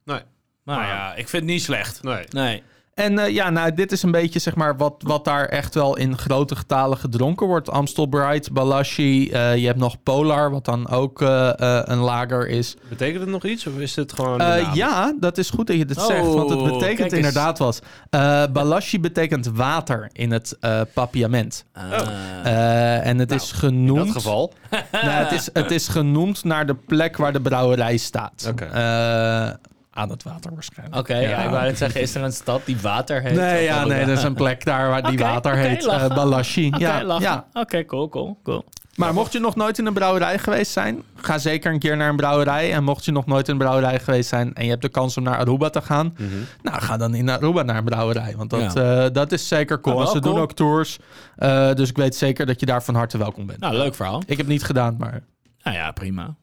[SPEAKER 2] Nee.
[SPEAKER 4] Nou ja, ik vind het niet slecht.
[SPEAKER 2] Nee.
[SPEAKER 4] Nee.
[SPEAKER 3] En eh, ja, nou, dit is een beetje zeg maar wat, wat daar echt wel in grote getalen gedronken wordt. Amstel Bright, Balashi, eh, je hebt nog Polar, wat dan ook eh, eh, een lager is.
[SPEAKER 2] Betekent het nog iets of is het gewoon.
[SPEAKER 3] Eh, ja, dat is goed dat je dit
[SPEAKER 4] Oh,
[SPEAKER 3] zegt, want het
[SPEAKER 4] kijk
[SPEAKER 3] betekent
[SPEAKER 4] eens.
[SPEAKER 3] inderdaad wat. Eh Balashi betekent water in het eh papiament. Eh, en het is genoemd...
[SPEAKER 2] In dat geval.
[SPEAKER 3] Nou, het, is, het is genoemd naar de plek waar de brouwerij staat.
[SPEAKER 2] Oké.
[SPEAKER 3] Eh, aan het water waarschijnlijk.
[SPEAKER 4] Oké, ja, ik wou net zeggen, is er een stad die water heeft?
[SPEAKER 3] Nee,
[SPEAKER 4] Of
[SPEAKER 3] ja,
[SPEAKER 4] wat
[SPEAKER 3] nee,
[SPEAKER 4] dan?
[SPEAKER 3] dat is een plek daar waar die
[SPEAKER 4] Oké,
[SPEAKER 3] water
[SPEAKER 4] oké,
[SPEAKER 3] heet. eh
[SPEAKER 4] lachen.
[SPEAKER 3] Balashi.
[SPEAKER 4] Oké,
[SPEAKER 3] ja,
[SPEAKER 4] lachen.
[SPEAKER 3] ja.
[SPEAKER 4] Oké, cool, cool, cool.
[SPEAKER 3] Maar mocht je nog nooit in een brouwerij geweest zijn, ga zeker een keer naar een brouwerij. En mocht je nog nooit in een brouwerij geweest zijn en je hebt de kans om naar Aruba te gaan,
[SPEAKER 2] Mhm.
[SPEAKER 3] nou ga dan in Aruba naar een brouwerij. Want dat, eh, dat is zeker cool.
[SPEAKER 4] Nou,
[SPEAKER 3] En
[SPEAKER 4] wel
[SPEAKER 3] Ze doen
[SPEAKER 4] cool.
[SPEAKER 3] ook tours. eh, dus ik weet zeker dat je daar van harte welkom bent.
[SPEAKER 4] Nou, leuk verhaal.
[SPEAKER 3] Ik heb niet gedaan, maar.
[SPEAKER 4] Nou ja, prima.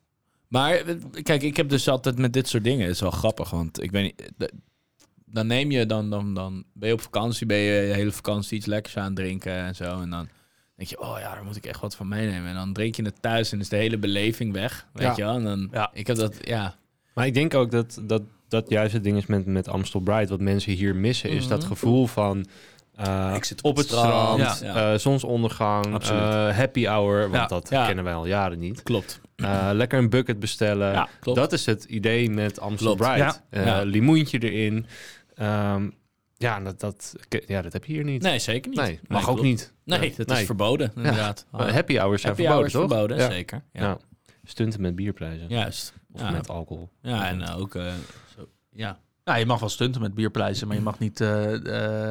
[SPEAKER 4] Maar eh, kijk, ik heb dus altijd met dit soort dingen, het is wel grappig, want ik weet niet... de- Dan neem je, dan, dan, dan ben je op vakantie, ben je de hele vakantie iets lekkers aan het drinken en zo. En dan denk je, oh ja, daar moet ik echt wat van meenemen. En dan drink je het thuis en is de hele beleving weg, weet
[SPEAKER 3] Ja.
[SPEAKER 4] je wel. En dan,
[SPEAKER 3] Ja.
[SPEAKER 4] Ik heb dat, ja.
[SPEAKER 2] Maar ik denk ook dat dat, dat juist het ding is met, met Amstel Bright. Wat mensen hier missen is dat gevoel van... eh,
[SPEAKER 4] Ik zit op
[SPEAKER 2] op,
[SPEAKER 4] het
[SPEAKER 2] het strand,
[SPEAKER 4] strand,
[SPEAKER 2] eh, zonsondergang,
[SPEAKER 4] Absoluut.
[SPEAKER 2] eh, happy hour. Want
[SPEAKER 3] Ja,
[SPEAKER 2] dat
[SPEAKER 4] ja.
[SPEAKER 2] kennen wij al jaren niet.
[SPEAKER 4] Klopt.
[SPEAKER 2] Eh, lekker een bucket bestellen.
[SPEAKER 4] Ja, klopt.
[SPEAKER 2] Dat is het idee met Amstel
[SPEAKER 4] Klopt.
[SPEAKER 2] Bright.
[SPEAKER 3] Ja.
[SPEAKER 2] Eh
[SPEAKER 4] Ja.
[SPEAKER 2] Limoentje erin. Ehm, ja, en dat, dat, ja, dat heb je hier niet.
[SPEAKER 4] Nee, zeker niet.
[SPEAKER 2] Nee, mag ook
[SPEAKER 4] klopt.
[SPEAKER 2] niet.
[SPEAKER 4] Nee, dat is
[SPEAKER 2] Nee.
[SPEAKER 4] verboden, inderdaad.
[SPEAKER 2] Eh, happy hours zijn
[SPEAKER 4] Happy
[SPEAKER 2] verboden,
[SPEAKER 4] hours
[SPEAKER 2] toch?
[SPEAKER 4] verboden,
[SPEAKER 2] Ja.
[SPEAKER 4] zeker. Ja.
[SPEAKER 2] Ja. Stunten met bierprijzen.
[SPEAKER 4] Juist.
[SPEAKER 2] Of
[SPEAKER 4] Ja.
[SPEAKER 2] met alcohol.
[SPEAKER 4] Ja, en eh, ook... eh, zo. Ja.
[SPEAKER 3] Nou, je mag wel stunten met bierprijzen, maar je mag niet eh,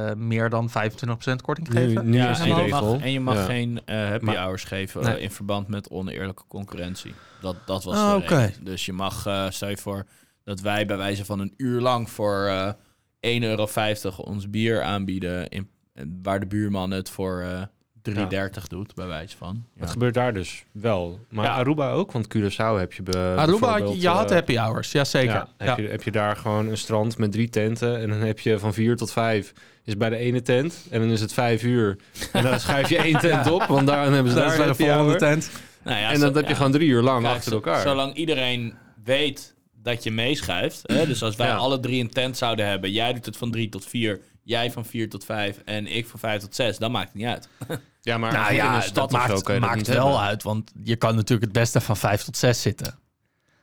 [SPEAKER 3] eh, meer dan 25% korting geven.
[SPEAKER 2] Nu
[SPEAKER 4] ja,
[SPEAKER 2] is
[SPEAKER 4] en,
[SPEAKER 2] die
[SPEAKER 4] je
[SPEAKER 2] regel.
[SPEAKER 4] mag, en je mag
[SPEAKER 2] Ja.
[SPEAKER 4] geen eh, happy
[SPEAKER 2] Maar-
[SPEAKER 4] hours geven eh,
[SPEAKER 2] Nee.
[SPEAKER 4] in verband met oneerlijke concurrentie. Dat, dat was
[SPEAKER 3] Ah,
[SPEAKER 4] de
[SPEAKER 3] oké.
[SPEAKER 4] reden. Dus je mag, eh stel je voor dat wij bij wijze van een uur lang voor eh 1,50 euro ons bier aanbieden... In, en waar de buurman het voor eh 3,30 doet, bij wijze van. Ja.
[SPEAKER 2] Dat gebeurt daar dus wel. Maar
[SPEAKER 4] Ja.
[SPEAKER 2] Aruba ook, want Curaçao heb je be-
[SPEAKER 3] Aruba, had je,
[SPEAKER 2] bijvoorbeeld,
[SPEAKER 3] je had
[SPEAKER 2] eh,
[SPEAKER 3] happy hours, jazeker.
[SPEAKER 2] ja, heb, Je, heb je daar gewoon een strand met drie tenten en dan heb je van vier tot vijf is bij de ene tent en dan is het vijf uur. En dan schuif je één tent op, want daar hebben ze
[SPEAKER 3] Dat
[SPEAKER 2] daar
[SPEAKER 3] is bij de
[SPEAKER 2] happy
[SPEAKER 3] volgende
[SPEAKER 2] hour.
[SPEAKER 3] tent.
[SPEAKER 4] Nou ja,
[SPEAKER 2] En
[SPEAKER 4] zo-
[SPEAKER 2] dan heb je
[SPEAKER 4] ja.
[SPEAKER 2] gewoon drie uur lang
[SPEAKER 4] Kijk,
[SPEAKER 2] achter
[SPEAKER 4] zo-
[SPEAKER 2] elkaar.
[SPEAKER 4] Zolang iedereen weet dat je meeschuift. Hè, dus als wij
[SPEAKER 2] Ja.
[SPEAKER 4] alle drie een tent zouden hebben. Jij doet het van drie tot vier. Jij van vier tot vijf. En ik van vijf tot zes. Dan maakt het niet uit.
[SPEAKER 2] ja, maar
[SPEAKER 3] Nou
[SPEAKER 2] in
[SPEAKER 3] ja,
[SPEAKER 2] een stad
[SPEAKER 3] dat
[SPEAKER 2] of zo
[SPEAKER 3] maakt,
[SPEAKER 2] kan je dat
[SPEAKER 3] maakt
[SPEAKER 2] niet
[SPEAKER 3] wel
[SPEAKER 2] hebben.
[SPEAKER 3] uit, want je kan natuurlijk het beste van vijf tot zes zitten.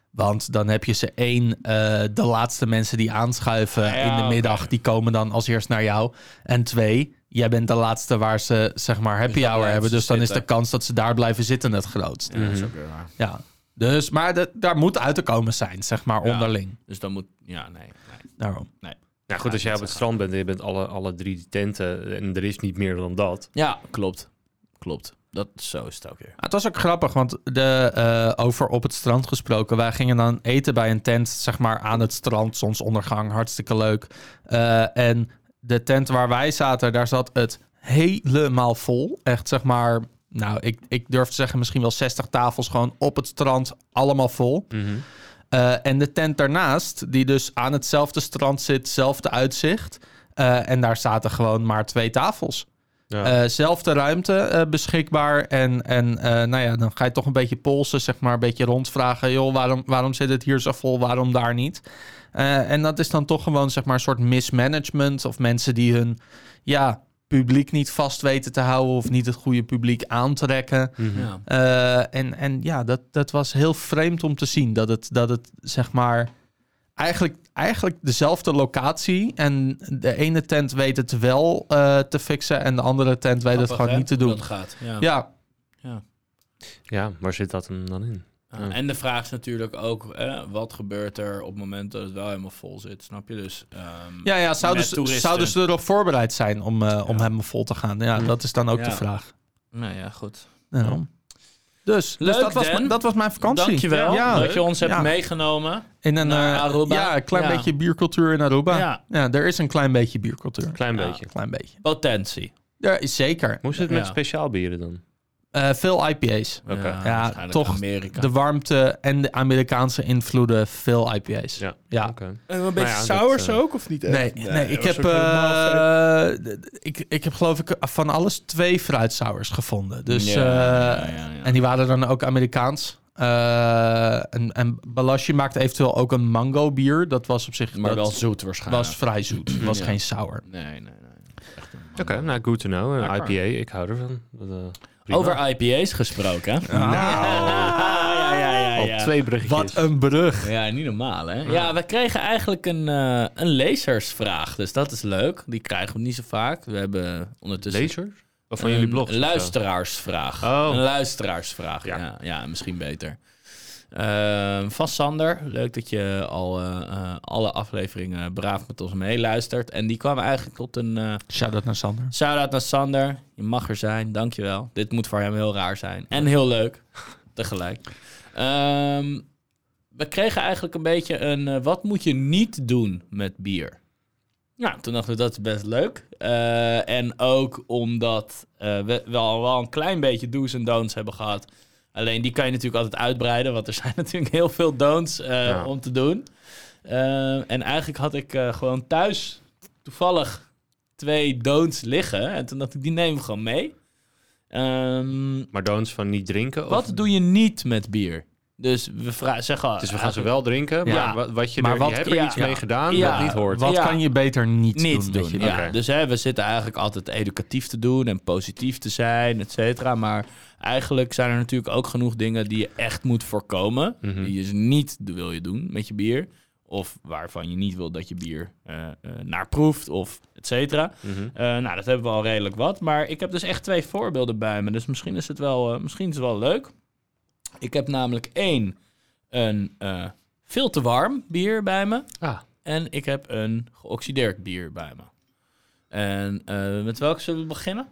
[SPEAKER 3] Want dan heb je ze één, eh, de laatste mensen die aanschuiven
[SPEAKER 4] Ja,
[SPEAKER 3] in de
[SPEAKER 4] oké.
[SPEAKER 3] middag, die komen dan als eerst naar jou. En twee, jij bent de laatste waar ze zeg maar happy
[SPEAKER 4] dan
[SPEAKER 3] hour
[SPEAKER 4] blijven
[SPEAKER 3] hebben,
[SPEAKER 4] ze
[SPEAKER 3] dus dan is de
[SPEAKER 4] zitten.
[SPEAKER 3] kans dat ze daar blijven zitten het grootst. Ja. Dus, maar dat- daar moet uit te komen zijn, zeg maar,
[SPEAKER 4] Ja.
[SPEAKER 3] onderling.
[SPEAKER 4] Dus dan moet... Ja, nee. nee.
[SPEAKER 3] Daarom.
[SPEAKER 2] Nou goed, als jij op het strand bent en je bent alle, alle drie die tenten en er is niet meer dan dat.
[SPEAKER 4] Ja, klopt. Klopt. Dat, zo is het ook weer.
[SPEAKER 3] Ja, Ah, Het was ook grappig, want de, eh, over op het strand gesproken. Wij gingen dan eten bij een tent, zeg maar, aan het strand. Zonsondergang, hartstikke leuk. Eh, en de tent waar wij zaten, daar zat het helemaal vol. Echt, zeg maar, nou, ik, ik durf te zeggen misschien wel 60 tafels gewoon op het strand, allemaal vol. Eh, en de tent daarnaast, die dus aan hetzelfde strand zit, zelfde uitzicht. eh, en daar zaten gewoon maar twee tafels.
[SPEAKER 2] Ja.
[SPEAKER 3] Eh, zelfde ruimte eh, beschikbaar. En, en eh, nou ja, dan ga je toch een beetje polsen, zeg maar, een beetje rondvragen. Joh, waarom, waarom zit het hier zo vol? Waarom daar niet? Eh, en dat is dan toch gewoon, zeg maar, een soort mismanagement. Of mensen die hun ja, publiek niet vast weten te houden. Of niet het goede publiek aantrekken.
[SPEAKER 4] Ja.
[SPEAKER 3] Eh, en, en ja, dat, dat was heel vreemd om te zien. Dat het, dat het zeg maar, eigenlijk, eigenlijk dezelfde locatie. En de ene tent weet het wel eh, te fixen. En de andere tent weet het
[SPEAKER 4] Grappig,
[SPEAKER 3] gewoon
[SPEAKER 4] hè,
[SPEAKER 3] niet te
[SPEAKER 4] hoe
[SPEAKER 3] doen.
[SPEAKER 4] Dat gaat. Ja.
[SPEAKER 3] Ja,
[SPEAKER 2] ja, waar zit dat hem dan in?
[SPEAKER 4] Ja, En de vraag is natuurlijk ook, eh, wat gebeurt er op het moment dat het wel helemaal vol zit? Snap je? Dus ehm,
[SPEAKER 3] ja, ja zouden,
[SPEAKER 4] Met
[SPEAKER 3] ze,
[SPEAKER 4] toeristen. Mm.
[SPEAKER 3] zouden ze erop voorbereid zijn om, eh, om helemaal vol te gaan? Ja, dat is dan ook
[SPEAKER 4] Ja.
[SPEAKER 3] de vraag.
[SPEAKER 4] nou ja, goed.
[SPEAKER 3] Daarom. Dus, dus
[SPEAKER 4] Leuk,
[SPEAKER 3] dat, was,
[SPEAKER 4] Dan.
[SPEAKER 3] mijn- dat was mijn vakantie.
[SPEAKER 4] Dankjewel
[SPEAKER 3] Ja,
[SPEAKER 4] dat je ons hebt
[SPEAKER 3] Ja.
[SPEAKER 4] meegenomen.
[SPEAKER 3] In een,
[SPEAKER 4] Naar
[SPEAKER 3] eh,
[SPEAKER 4] Aruba.
[SPEAKER 3] Ja, een klein
[SPEAKER 4] Ja.
[SPEAKER 3] beetje biercultuur in Aruba.
[SPEAKER 4] Ja.
[SPEAKER 3] ja, er is een klein beetje biercultuur.
[SPEAKER 2] Klein
[SPEAKER 4] Ja.
[SPEAKER 2] beetje.
[SPEAKER 3] Klein beetje.
[SPEAKER 4] Potentie.
[SPEAKER 3] Ja, zeker.
[SPEAKER 2] Moest het met
[SPEAKER 4] Ja.
[SPEAKER 2] speciaal bieren dan?
[SPEAKER 3] Eh, veel IPA's.
[SPEAKER 2] Oké.
[SPEAKER 4] Ja,
[SPEAKER 3] Ja,
[SPEAKER 4] waarschijnlijk
[SPEAKER 3] toch
[SPEAKER 4] Amerika.
[SPEAKER 3] De warmte en de Amerikaanse invloeden, veel IPA's.
[SPEAKER 2] Ja.
[SPEAKER 3] Ja.
[SPEAKER 2] Oké.
[SPEAKER 4] een
[SPEAKER 2] beetje ja, sours dat, eh,
[SPEAKER 4] ook, of niet
[SPEAKER 3] Nee, nee, ik, heb, eh, d- d- ik, ik heb geloof ik van alles twee fruitsours gevonden. Dus,
[SPEAKER 4] Ja,
[SPEAKER 3] eh,
[SPEAKER 4] ja, ja, ja.
[SPEAKER 3] En die waren dan ook Amerikaans. Eh, en, en Balashi maakt eventueel ook een mango bier. Dat was op zich
[SPEAKER 4] maar
[SPEAKER 3] dat
[SPEAKER 4] wel zoet
[SPEAKER 3] was
[SPEAKER 4] waarschijnlijk.
[SPEAKER 3] vrij zoet. was
[SPEAKER 4] Ja.
[SPEAKER 3] geen sour.
[SPEAKER 4] Nee, nee, nee. Echt een man.
[SPEAKER 2] Oké, nou, good to know. Eh,
[SPEAKER 4] Lekker.
[SPEAKER 2] IPA, ik hou ervan. Dat, eh, prima.
[SPEAKER 4] Over IPA's gesproken. hè? ja, ja, ja,
[SPEAKER 2] Al
[SPEAKER 4] ja.
[SPEAKER 2] twee bruggetjes.
[SPEAKER 3] Wat een brug.
[SPEAKER 4] Ja, niet normaal, hè? Ja, we kregen eigenlijk een, eh, een lezersvraag. Dus dat is leuk. Die krijgen we niet zo vaak. We hebben ondertussen...
[SPEAKER 2] Lezers? Of van jullie blog?
[SPEAKER 4] Een luisteraarsvraag.
[SPEAKER 2] Oh.
[SPEAKER 4] Een luisteraarsvraag, ja.
[SPEAKER 2] Ja.
[SPEAKER 4] Ja, misschien beter. Ehm, van Sander, leuk dat je al eh, eh, alle afleveringen braaf met ons meeluistert. En die kwam eigenlijk tot een eh
[SPEAKER 3] Shout-out naar Sander.
[SPEAKER 4] shout-out naar Sander. Je mag er zijn, dankjewel. Dit moet voor hem heel raar zijn. En heel leuk, tegelijk. Ehm, we kregen eigenlijk een beetje een... eh, wat moet je niet doen met bier? Ja, toen dachten we dat is best leuk. Eh, en ook omdat eh, we wel, wel een klein beetje do's en don'ts hebben gehad. Alleen die kan je natuurlijk altijd uitbreiden, want er zijn natuurlijk heel veel don'ts eh,
[SPEAKER 2] Ja.
[SPEAKER 4] om te doen. Eh, en eigenlijk had ik eh, gewoon thuis toevallig twee don'ts liggen. En toen dacht ik, die nemen we gewoon mee. Ehm,
[SPEAKER 2] Maar don'ts van niet drinken? Of...
[SPEAKER 4] wat doe je niet met bier? Dus we vra- zeggen... al-
[SPEAKER 2] Dus we gaan ze wel drinken, maar
[SPEAKER 4] Ja.
[SPEAKER 2] wat, wat je,
[SPEAKER 3] Maar
[SPEAKER 2] er,
[SPEAKER 3] wat-
[SPEAKER 2] je hebt er
[SPEAKER 4] ja.
[SPEAKER 2] iets mee gedaan
[SPEAKER 4] Ja.
[SPEAKER 2] wat niet hoort.
[SPEAKER 3] Wat
[SPEAKER 4] Ja.
[SPEAKER 3] kan je beter niet,
[SPEAKER 4] niets
[SPEAKER 3] doen?
[SPEAKER 4] doen.
[SPEAKER 3] weet je?
[SPEAKER 4] ja.
[SPEAKER 2] Oké.
[SPEAKER 4] Dus hè, we zitten eigenlijk altijd educatief te doen en positief te zijn, et cetera. Maar eigenlijk zijn er natuurlijk ook genoeg dingen die je echt moet voorkomen.
[SPEAKER 2] Mhm.
[SPEAKER 4] Die je dus niet d- wil je doen met je bier. Of waarvan je niet wil dat je bier eh, eh, naar proeft of et cetera.
[SPEAKER 2] Mhm.
[SPEAKER 4] Eh, nou, dat hebben we al redelijk wat. Maar ik heb dus echt twee voorbeelden bij me. Dus misschien is het wel, eh, misschien is het wel leuk. Ik heb namelijk één, een eh, veel te warm bier bij me.
[SPEAKER 2] Ah.
[SPEAKER 4] En ik heb een geoxideerd bier bij me. En eh, met welke zullen we beginnen?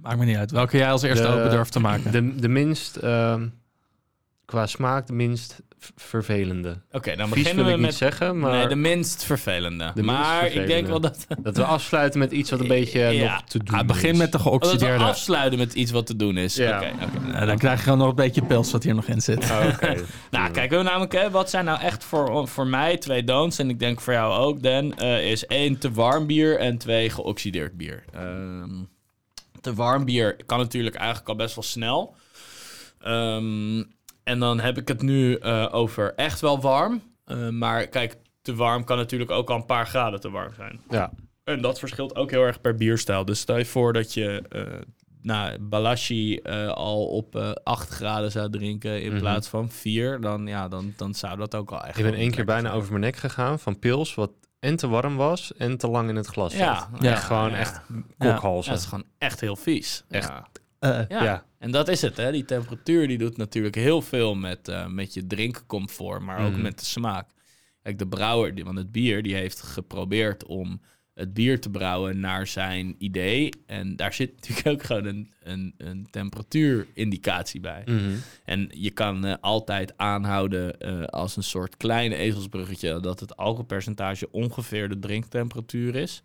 [SPEAKER 3] Maakt me niet uit. Welke jij als eerste
[SPEAKER 2] De-
[SPEAKER 3] open durft te maken.
[SPEAKER 2] De, de minst, ehm, qua smaak, de minst v- vervelende.
[SPEAKER 4] Oké, dan
[SPEAKER 2] Vies wil
[SPEAKER 4] beginnen we
[SPEAKER 2] ik
[SPEAKER 4] met
[SPEAKER 2] niet zeggen, maar
[SPEAKER 4] nee, de minst vervelende.
[SPEAKER 2] De minst
[SPEAKER 4] maar ik denk
[SPEAKER 2] vervelende.
[SPEAKER 4] wel dat,
[SPEAKER 2] dat we afsluiten met iets wat een beetje
[SPEAKER 4] Ja.
[SPEAKER 2] nog te doen
[SPEAKER 3] Ah, begin
[SPEAKER 2] is.
[SPEAKER 3] met de
[SPEAKER 4] Oh, dat we
[SPEAKER 3] geoxideerde.
[SPEAKER 4] afsluiten met iets wat te doen is. Oké,
[SPEAKER 2] Ja.
[SPEAKER 4] oké.
[SPEAKER 3] Nou, dan krijg je gewoon nog een beetje pils wat hier nog in zit.
[SPEAKER 2] Oh, oké.
[SPEAKER 4] Nou, kijk, we hebben namelijk, hè, wat zijn nou echt voor, voor mij twee don'ts, en ik denk voor jou ook, Dan, eh, is één te warm bier en twee geoxideerd bier. Ehm, te warm bier kan natuurlijk eigenlijk al best wel snel. Ehm, en dan heb ik het nu eh, over echt wel warm. Eh, maar kijk, te warm kan natuurlijk ook al een paar graden te warm zijn.
[SPEAKER 2] Ja.
[SPEAKER 4] En dat verschilt ook heel erg per bierstijl. Dus stel je voor dat je eh nou, Balashi eh, al op eh 8 graden zou drinken in
[SPEAKER 2] Mhm.
[SPEAKER 4] plaats van 4. Dan, ja, dan, dan zou dat ook al echt...
[SPEAKER 2] Ik ben
[SPEAKER 4] wel
[SPEAKER 2] één keer
[SPEAKER 4] lekker
[SPEAKER 2] bijna
[SPEAKER 4] zijn.
[SPEAKER 2] over mijn nek gegaan van pils, wat en te warm was en te lang in het glas
[SPEAKER 4] Ja,
[SPEAKER 2] zat.
[SPEAKER 3] Ja.
[SPEAKER 2] Echt gewoon
[SPEAKER 4] ja.
[SPEAKER 2] echt
[SPEAKER 3] Ja.
[SPEAKER 4] Ja,
[SPEAKER 2] kokhalzen.
[SPEAKER 4] dat is gewoon echt heel vies.
[SPEAKER 2] Echt.
[SPEAKER 4] Ja.
[SPEAKER 3] Eh,
[SPEAKER 4] Ja.
[SPEAKER 2] Ja.
[SPEAKER 4] En dat is het, hè. Die temperatuur die doet natuurlijk heel veel met, eh, met je drinkcomfort, maar ook
[SPEAKER 2] Mhm.
[SPEAKER 4] met de smaak. Kijk, de brouwer die- van het bier, die heeft geprobeerd om het bier te brouwen naar zijn idee. En daar zit natuurlijk ook gewoon een, een, een temperatuurindicatie bij.
[SPEAKER 2] Mhm.
[SPEAKER 4] En je kan eh, altijd aanhouden eh, als een soort klein ezelsbruggetje dat het alcoholpercentage ongeveer de drinktemperatuur is.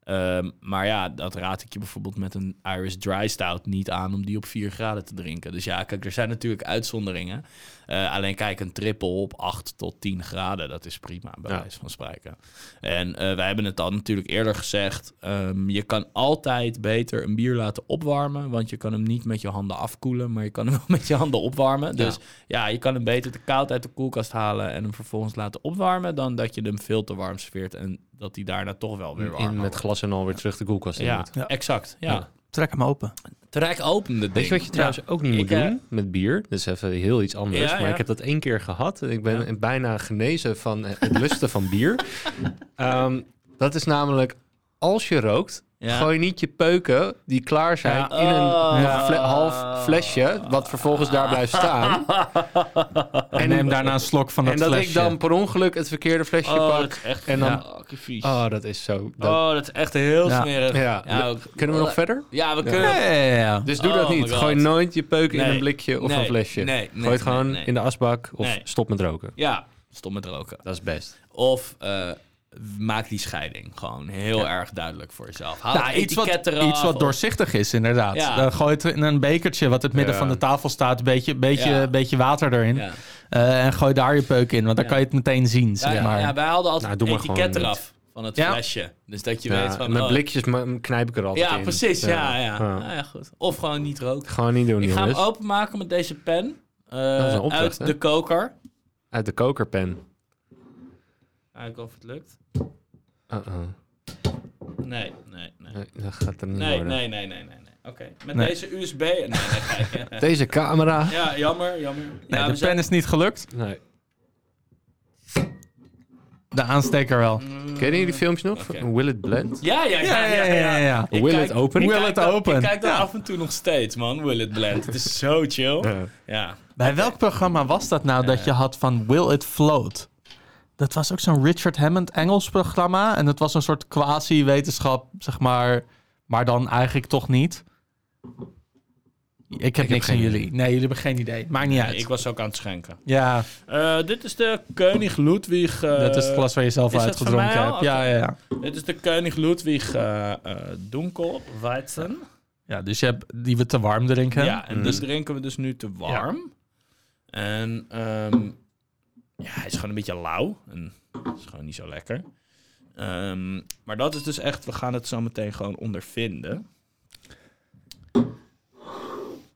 [SPEAKER 4] Ehm, maar ja, dat raad ik je bijvoorbeeld met een Irish Dry Stout niet aan om die op 4 graden te drinken. Dus ja, kijk, er zijn natuurlijk uitzonderingen. Eh, alleen kijk, een triple op 8 tot 10 graden, dat is prima, bij
[SPEAKER 2] Ja.
[SPEAKER 4] wijze van spreken. En eh, wij hebben het al natuurlijk eerder gezegd. ehm, je kan altijd beter een bier laten opwarmen. Want je kan hem niet met je handen afkoelen. Maar je kan hem wel met je handen opwarmen. Dus ja, je kan hem beter te koud uit de koelkast halen. En hem vervolgens laten opwarmen. Dan dat je hem veel te warm serveert. En dat hij daarna toch wel weer warm
[SPEAKER 2] In met
[SPEAKER 4] wordt.
[SPEAKER 2] glas en al weer terug de koelkast in
[SPEAKER 4] Ja,
[SPEAKER 2] moet.
[SPEAKER 3] Ja.
[SPEAKER 4] exact. Ja.
[SPEAKER 2] Ja.
[SPEAKER 3] Trek hem open.
[SPEAKER 4] Trek open de
[SPEAKER 2] Weet je wat je trouwens ook niet
[SPEAKER 4] Ik,
[SPEAKER 2] moet
[SPEAKER 4] eh,
[SPEAKER 2] doen met bier? Dat is even heel iets anders.
[SPEAKER 4] Ja,
[SPEAKER 2] maar
[SPEAKER 4] ja.
[SPEAKER 2] ik heb dat één keer gehad. En ik ben bijna genezen van eh, het lusten van bier. Ehm, dat is namelijk, als je rookt,
[SPEAKER 4] Ja.
[SPEAKER 2] gooi niet je peuken die klaar zijn
[SPEAKER 4] Ja.
[SPEAKER 2] in een
[SPEAKER 4] Oh.
[SPEAKER 2] nog fle- half flesje. Wat vervolgens daar blijft staan.
[SPEAKER 3] En neem daarna een slok van dat
[SPEAKER 2] en dat
[SPEAKER 3] flesje.
[SPEAKER 2] ik dan per ongeluk het verkeerde flesje
[SPEAKER 4] Oh, dat
[SPEAKER 2] pak.
[SPEAKER 4] is echt
[SPEAKER 2] en dan-
[SPEAKER 4] fucking vies.
[SPEAKER 2] Oh, dat is zo. dat-
[SPEAKER 4] Oh, dat is echt heel
[SPEAKER 3] Ja.
[SPEAKER 4] smerig.
[SPEAKER 2] Ja.
[SPEAKER 4] ook- Oh,
[SPEAKER 2] Kunnen we nog verder?
[SPEAKER 4] Ja, we kunnen.
[SPEAKER 3] Ja, ja, ja, ja.
[SPEAKER 2] Dus doe
[SPEAKER 4] Oh
[SPEAKER 2] dat
[SPEAKER 4] my
[SPEAKER 2] niet.
[SPEAKER 4] God.
[SPEAKER 2] Gooi nooit je peuk in
[SPEAKER 4] Nee.
[SPEAKER 2] een blikje of
[SPEAKER 4] Nee.
[SPEAKER 2] een flesje.
[SPEAKER 4] Nee. Nee.
[SPEAKER 2] Gooi het
[SPEAKER 4] Nee.
[SPEAKER 2] gewoon
[SPEAKER 4] Nee.
[SPEAKER 2] in de asbak of
[SPEAKER 4] Nee.
[SPEAKER 2] stop met roken.
[SPEAKER 4] Ja, stom met roken.
[SPEAKER 2] Dat is best.
[SPEAKER 4] Of eh, maak die scheiding gewoon heel erg duidelijk voor jezelf. Haal
[SPEAKER 3] Nou,
[SPEAKER 4] het
[SPEAKER 3] iets, wat,
[SPEAKER 4] etiket eraf.
[SPEAKER 3] iets wat
[SPEAKER 4] of-
[SPEAKER 3] doorzichtig is, inderdaad.
[SPEAKER 4] Oh. Ja.
[SPEAKER 3] Dan gooi het in een bekertje wat in het midden
[SPEAKER 2] Ja.
[SPEAKER 3] van de tafel staat. Een beetje, beetje,
[SPEAKER 4] Ja.
[SPEAKER 3] beetje water erin.
[SPEAKER 4] Ja.
[SPEAKER 3] Eh, en gooi daar je peuk in, want dan
[SPEAKER 4] Ja.
[SPEAKER 3] kan je het meteen zien,
[SPEAKER 4] Ja,
[SPEAKER 3] zeg maar.
[SPEAKER 4] ja, wij haalden altijd
[SPEAKER 2] Nou, doe maar
[SPEAKER 4] het etiket
[SPEAKER 2] gewoon
[SPEAKER 4] eraf van het
[SPEAKER 3] Ja.
[SPEAKER 4] flesje. Dus dat je weet
[SPEAKER 2] Ja,
[SPEAKER 4] van...
[SPEAKER 2] met
[SPEAKER 4] oh,
[SPEAKER 2] blikjes ma- knijp ik er altijd
[SPEAKER 4] Ja,
[SPEAKER 2] in.
[SPEAKER 4] precies. Ja, ja.
[SPEAKER 2] Ja.
[SPEAKER 4] Nou ja, goed. Of gewoon niet roken.
[SPEAKER 2] Gewoon niet doen,
[SPEAKER 4] Ik ga hem
[SPEAKER 2] jongens.
[SPEAKER 4] openmaken met deze pen. eh,
[SPEAKER 2] Dat is een opdracht,
[SPEAKER 4] uit
[SPEAKER 2] hè?
[SPEAKER 4] de koker.
[SPEAKER 2] Uit de kokerpen.
[SPEAKER 4] Kijken of het lukt.
[SPEAKER 2] Uh-oh.
[SPEAKER 4] Nee, nee, nee.
[SPEAKER 2] Nee, dat gaat er niet
[SPEAKER 4] Nee,
[SPEAKER 2] worden.
[SPEAKER 4] nee, nee, nee, nee. nee. Oké, met
[SPEAKER 3] Nee.
[SPEAKER 4] deze USB... Nee, nee, gek.
[SPEAKER 2] Deze camera.
[SPEAKER 4] ja, jammer, jammer. Nee,
[SPEAKER 3] Nee,
[SPEAKER 4] ja,
[SPEAKER 3] de pen
[SPEAKER 4] we zijn-
[SPEAKER 3] is niet gelukt.
[SPEAKER 2] Nee.
[SPEAKER 3] De aansteker wel.
[SPEAKER 2] Ken je die filmpjes nog?
[SPEAKER 4] Mm. Oké.
[SPEAKER 2] Will it blend?
[SPEAKER 4] Ja, ja, ja, ja, ja, ja. Ik
[SPEAKER 2] Will
[SPEAKER 4] kijk-
[SPEAKER 2] it open?
[SPEAKER 4] ik
[SPEAKER 3] Will
[SPEAKER 4] kijk
[SPEAKER 3] it
[SPEAKER 4] dat-
[SPEAKER 3] open?
[SPEAKER 4] Ik kijk dat
[SPEAKER 3] Ja.
[SPEAKER 4] af en toe nog steeds, man. Will it blend? Het is zo chill. Ja.
[SPEAKER 2] Ja.
[SPEAKER 3] Bij welk programma was dat nou dat je had van Will It Float? Dat was ook zo'n Richard Hammond Engels programma. En dat was een soort quasi-wetenschap, zeg maar. Maar dan eigenlijk toch niet. Ik heb niks
[SPEAKER 2] geen
[SPEAKER 3] aan jullie. Nee, jullie hebben geen idee. Maakt niet uit.
[SPEAKER 4] Ik was ook aan het schenken.
[SPEAKER 3] Ja,
[SPEAKER 4] Eh, dit is de König Ludwig. eh,
[SPEAKER 3] dat is het glas waar je zelf
[SPEAKER 4] is dat
[SPEAKER 3] uitgedronken
[SPEAKER 4] van mij
[SPEAKER 3] hebt.
[SPEAKER 4] al?
[SPEAKER 3] Ja,
[SPEAKER 4] Oké.
[SPEAKER 3] ja, ja.
[SPEAKER 4] Dit is de König Ludwig eh eh Dunkel Weizen.
[SPEAKER 3] Ja, dus je hebt die we te warm drinken.
[SPEAKER 4] Ja, en die drinken we dus nu te warm. En ehm, ja, hij is gewoon een beetje lauw. En dat is gewoon niet zo lekker. Ehm, maar dat is dus echt, we gaan het zo meteen gewoon ondervinden.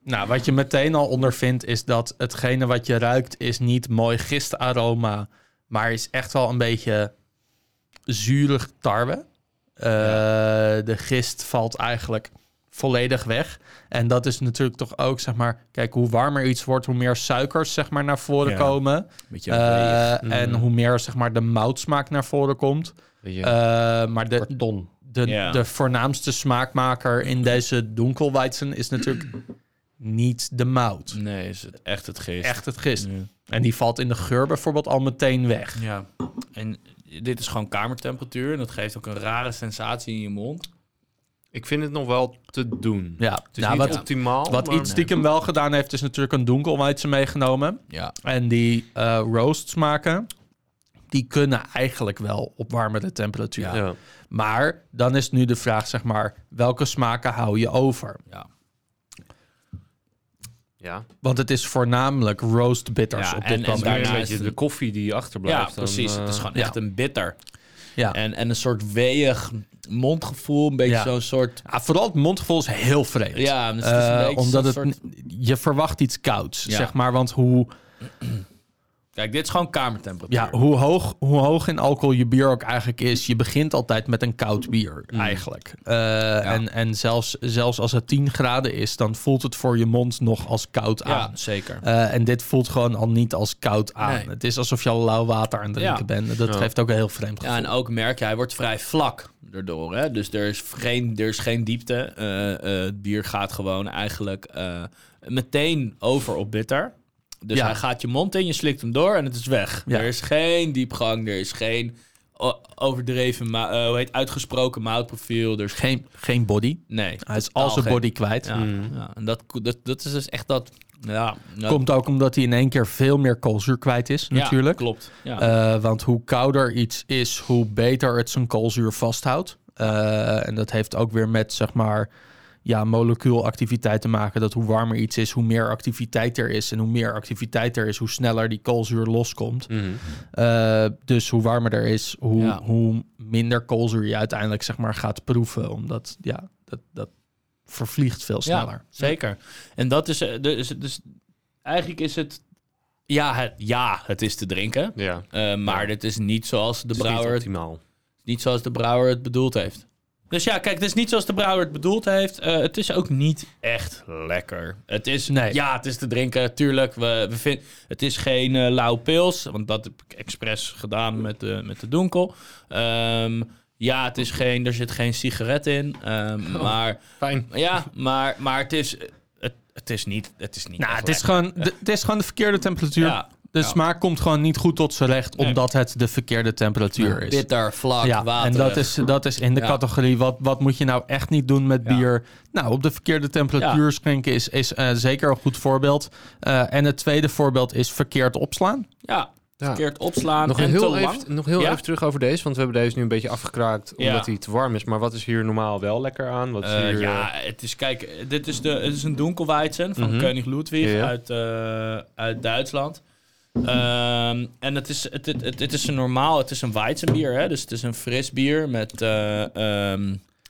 [SPEAKER 3] Nou, wat je meteen al ondervindt is dat hetgene wat je ruikt is niet mooi gistaroma, maar is echt wel een beetje zuurig tarwe. Eh, De gist valt eigenlijk volledig weg. En dat is natuurlijk toch ook, zeg maar, kijk, hoe warmer iets wordt, hoe meer suikers, zeg maar, naar voren
[SPEAKER 4] Ja.
[SPEAKER 3] komen.
[SPEAKER 4] Beetje
[SPEAKER 3] Eh,
[SPEAKER 4] weeg. Mm.
[SPEAKER 3] En hoe meer, zeg maar, de moutsmaak naar voren komt.
[SPEAKER 2] Weet je,
[SPEAKER 3] Eh, maar de,
[SPEAKER 2] karton.
[SPEAKER 3] de,
[SPEAKER 4] Ja.
[SPEAKER 3] de voornaamste smaakmaker in deze donkelweizen is natuurlijk niet de mout.
[SPEAKER 4] Nee, is het echt het gist.
[SPEAKER 3] Echt het gist.
[SPEAKER 4] Ja.
[SPEAKER 3] En die valt in de geur bijvoorbeeld al meteen weg.
[SPEAKER 4] Ja. En dit is gewoon kamertemperatuur. En dat geeft ook een rare sensatie in je mond.
[SPEAKER 2] Ik vind het nog wel te doen.
[SPEAKER 3] Ja,
[SPEAKER 2] Het is
[SPEAKER 3] nou,
[SPEAKER 2] niet
[SPEAKER 3] wat,
[SPEAKER 2] optimaal.
[SPEAKER 3] wat
[SPEAKER 2] maar-
[SPEAKER 3] iets stiekem wel gedaan heeft, is natuurlijk een donkelweizen meegenomen.
[SPEAKER 4] Ja.
[SPEAKER 3] En die eh roasts maken, die kunnen eigenlijk wel op warmere temperatuur.
[SPEAKER 2] Ja. Ja.
[SPEAKER 3] Maar dan is nu de vraag, zeg maar, welke smaken hou je over?
[SPEAKER 4] Ja.
[SPEAKER 2] ja.
[SPEAKER 3] Want het is voornamelijk roast bitters
[SPEAKER 4] Ja,
[SPEAKER 3] op dit
[SPEAKER 4] en- en
[SPEAKER 3] moment.
[SPEAKER 4] daarna
[SPEAKER 2] Daarna
[SPEAKER 4] is
[SPEAKER 2] een beetje
[SPEAKER 4] het-
[SPEAKER 2] de koffie die
[SPEAKER 4] Ja,
[SPEAKER 2] achterblijft. dan,
[SPEAKER 4] precies. het is
[SPEAKER 2] eh,
[SPEAKER 4] gewoon
[SPEAKER 3] ja.
[SPEAKER 4] echt een bitter.
[SPEAKER 3] Ja.
[SPEAKER 4] En, en een soort weeg mondgevoel. Een beetje
[SPEAKER 3] Ja.
[SPEAKER 4] zo'n soort...
[SPEAKER 3] Ja, vooral het mondgevoel is heel vreemd.
[SPEAKER 4] Ja, dus het is een
[SPEAKER 3] Eh,
[SPEAKER 4] beetje
[SPEAKER 3] omdat
[SPEAKER 4] zo'n
[SPEAKER 3] het,
[SPEAKER 4] soort-
[SPEAKER 3] je verwacht iets kouds,
[SPEAKER 4] Ja.
[SPEAKER 3] zeg maar. Want hoe,
[SPEAKER 4] Kijk, dit is gewoon kamertemperatuur.
[SPEAKER 3] ja, hoe, hoog, hoe hoog in alcohol je bier ook eigenlijk is... je begint altijd met een koud bier,
[SPEAKER 4] Mm.
[SPEAKER 3] eigenlijk. Eh, En, en zelfs, zelfs als het 10 graden is... dan voelt het voor je mond nog als koud
[SPEAKER 4] Ja,
[SPEAKER 3] aan.
[SPEAKER 4] zeker.
[SPEAKER 3] Eh, en dit voelt gewoon al niet als koud aan.
[SPEAKER 4] Nee.
[SPEAKER 3] Het is alsof je al lauw water aan het drinken
[SPEAKER 4] Ja.
[SPEAKER 3] bent. Dat geeft ook een heel vreemd gevoel.
[SPEAKER 4] Ja, en ook merk je, hij wordt vrij vlak erdoor. Hè? Dus er is geen, er is geen diepte. Eh, eh, het bier gaat gewoon eigenlijk eh, meteen over op bitter. Dus
[SPEAKER 3] Ja.
[SPEAKER 4] hij gaat je mond in, je slikt hem door en het is weg.
[SPEAKER 3] Ja.
[SPEAKER 4] Er is geen diepgang, er is geen o- overdreven, ma- eh, hoe heet uitgesproken moutprofiel. Dus
[SPEAKER 3] Geen, geen body.
[SPEAKER 4] nee.
[SPEAKER 3] Hij is
[SPEAKER 4] Totaal
[SPEAKER 3] al zijn
[SPEAKER 4] geen-
[SPEAKER 3] body kwijt.
[SPEAKER 4] Ja, ja, en dat, ko- dat, dat is dus echt dat. Ja, dat-
[SPEAKER 3] Komt ook omdat hij in één keer veel meer koolzuur kwijt is,
[SPEAKER 4] ja,
[SPEAKER 3] natuurlijk.
[SPEAKER 4] Klopt. Ja.
[SPEAKER 3] Eh, want hoe kouder iets is, hoe beter het zijn koolzuur vasthoudt. Eh, en dat heeft ook weer met, zeg maar, ja, molecuulactiviteit te maken. Dat hoe warmer iets is, hoe meer activiteit er is. En hoe meer activiteit er is, hoe sneller die koolzuur loskomt.
[SPEAKER 4] Mhm.
[SPEAKER 3] Eh, dus hoe warmer er is, hoe,
[SPEAKER 4] Ja.
[SPEAKER 3] hoe minder koolzuur je uiteindelijk, zeg maar, gaat proeven. Omdat, ja, dat, dat vervliegt veel sneller.
[SPEAKER 4] Ja, zeker. En dat is eh, dus, dus eigenlijk is het ja, het, ja, het is te drinken,
[SPEAKER 2] Ja. Het
[SPEAKER 4] Eh, maar dit is niet zoals de
[SPEAKER 2] is niet
[SPEAKER 4] brouwer het
[SPEAKER 2] optimaal.
[SPEAKER 4] niet zoals de brouwer het bedoeld heeft. Dus ja, kijk, het is niet zoals de brouwer het bedoeld heeft. Eh, het is ook niet echt lekker. Het is,
[SPEAKER 3] Nee.
[SPEAKER 4] ja, het is te drinken, tuurlijk. We, we vind, het is geen eh lauwe pils, want dat heb ik expres gedaan met de, met de donkel. Ehm, ja, het is geen, er zit geen sigaret in, ehm, maar
[SPEAKER 2] Fijn.
[SPEAKER 4] ja, maar, maar het is... Het, het is niet... Het is niet
[SPEAKER 3] Nou,
[SPEAKER 4] echt
[SPEAKER 3] het is,
[SPEAKER 4] lekker.
[SPEAKER 3] gewoon, de- het is gewoon de verkeerde temperatuur.
[SPEAKER 4] Ja.
[SPEAKER 3] De
[SPEAKER 4] Ja.
[SPEAKER 3] smaak komt gewoon niet goed tot zijn recht,
[SPEAKER 4] Nee.
[SPEAKER 3] omdat het de verkeerde temperatuur is.
[SPEAKER 4] Bitter, vlak,
[SPEAKER 3] ja,
[SPEAKER 4] water.
[SPEAKER 3] en dat is, dat is in de
[SPEAKER 4] Ja.
[SPEAKER 3] categorie, wat, wat moet je nou echt niet doen met
[SPEAKER 4] Ja.
[SPEAKER 3] bier? Nou, op de verkeerde temperatuur schenken is, is eh, zeker een goed voorbeeld. Eh, en het tweede voorbeeld is verkeerd opslaan.
[SPEAKER 4] Ja,
[SPEAKER 2] Ja.
[SPEAKER 4] verkeerd opslaan
[SPEAKER 2] Nog
[SPEAKER 4] en te
[SPEAKER 2] heel,
[SPEAKER 4] lang.
[SPEAKER 2] even, nog heel
[SPEAKER 4] Ja?
[SPEAKER 2] even terug over deze, want we hebben deze nu een beetje afgekraakt
[SPEAKER 4] Ja.
[SPEAKER 2] omdat hij te warm is. Maar wat is hier normaal wel lekker aan? Wat is
[SPEAKER 4] Eh,
[SPEAKER 2] hier,
[SPEAKER 4] ja,
[SPEAKER 2] eh,
[SPEAKER 4] het is, kijk, dit is, de, het is een Dunkelweizen van
[SPEAKER 2] Mhm.
[SPEAKER 4] Koning Ludwig
[SPEAKER 2] Ja, ja.
[SPEAKER 4] uit, eh, uit Duitsland. Ehm, en het is, het, het, het, het is een normaal, het is een Weizenbier, hè? dus het is een fris bier met, eh ehm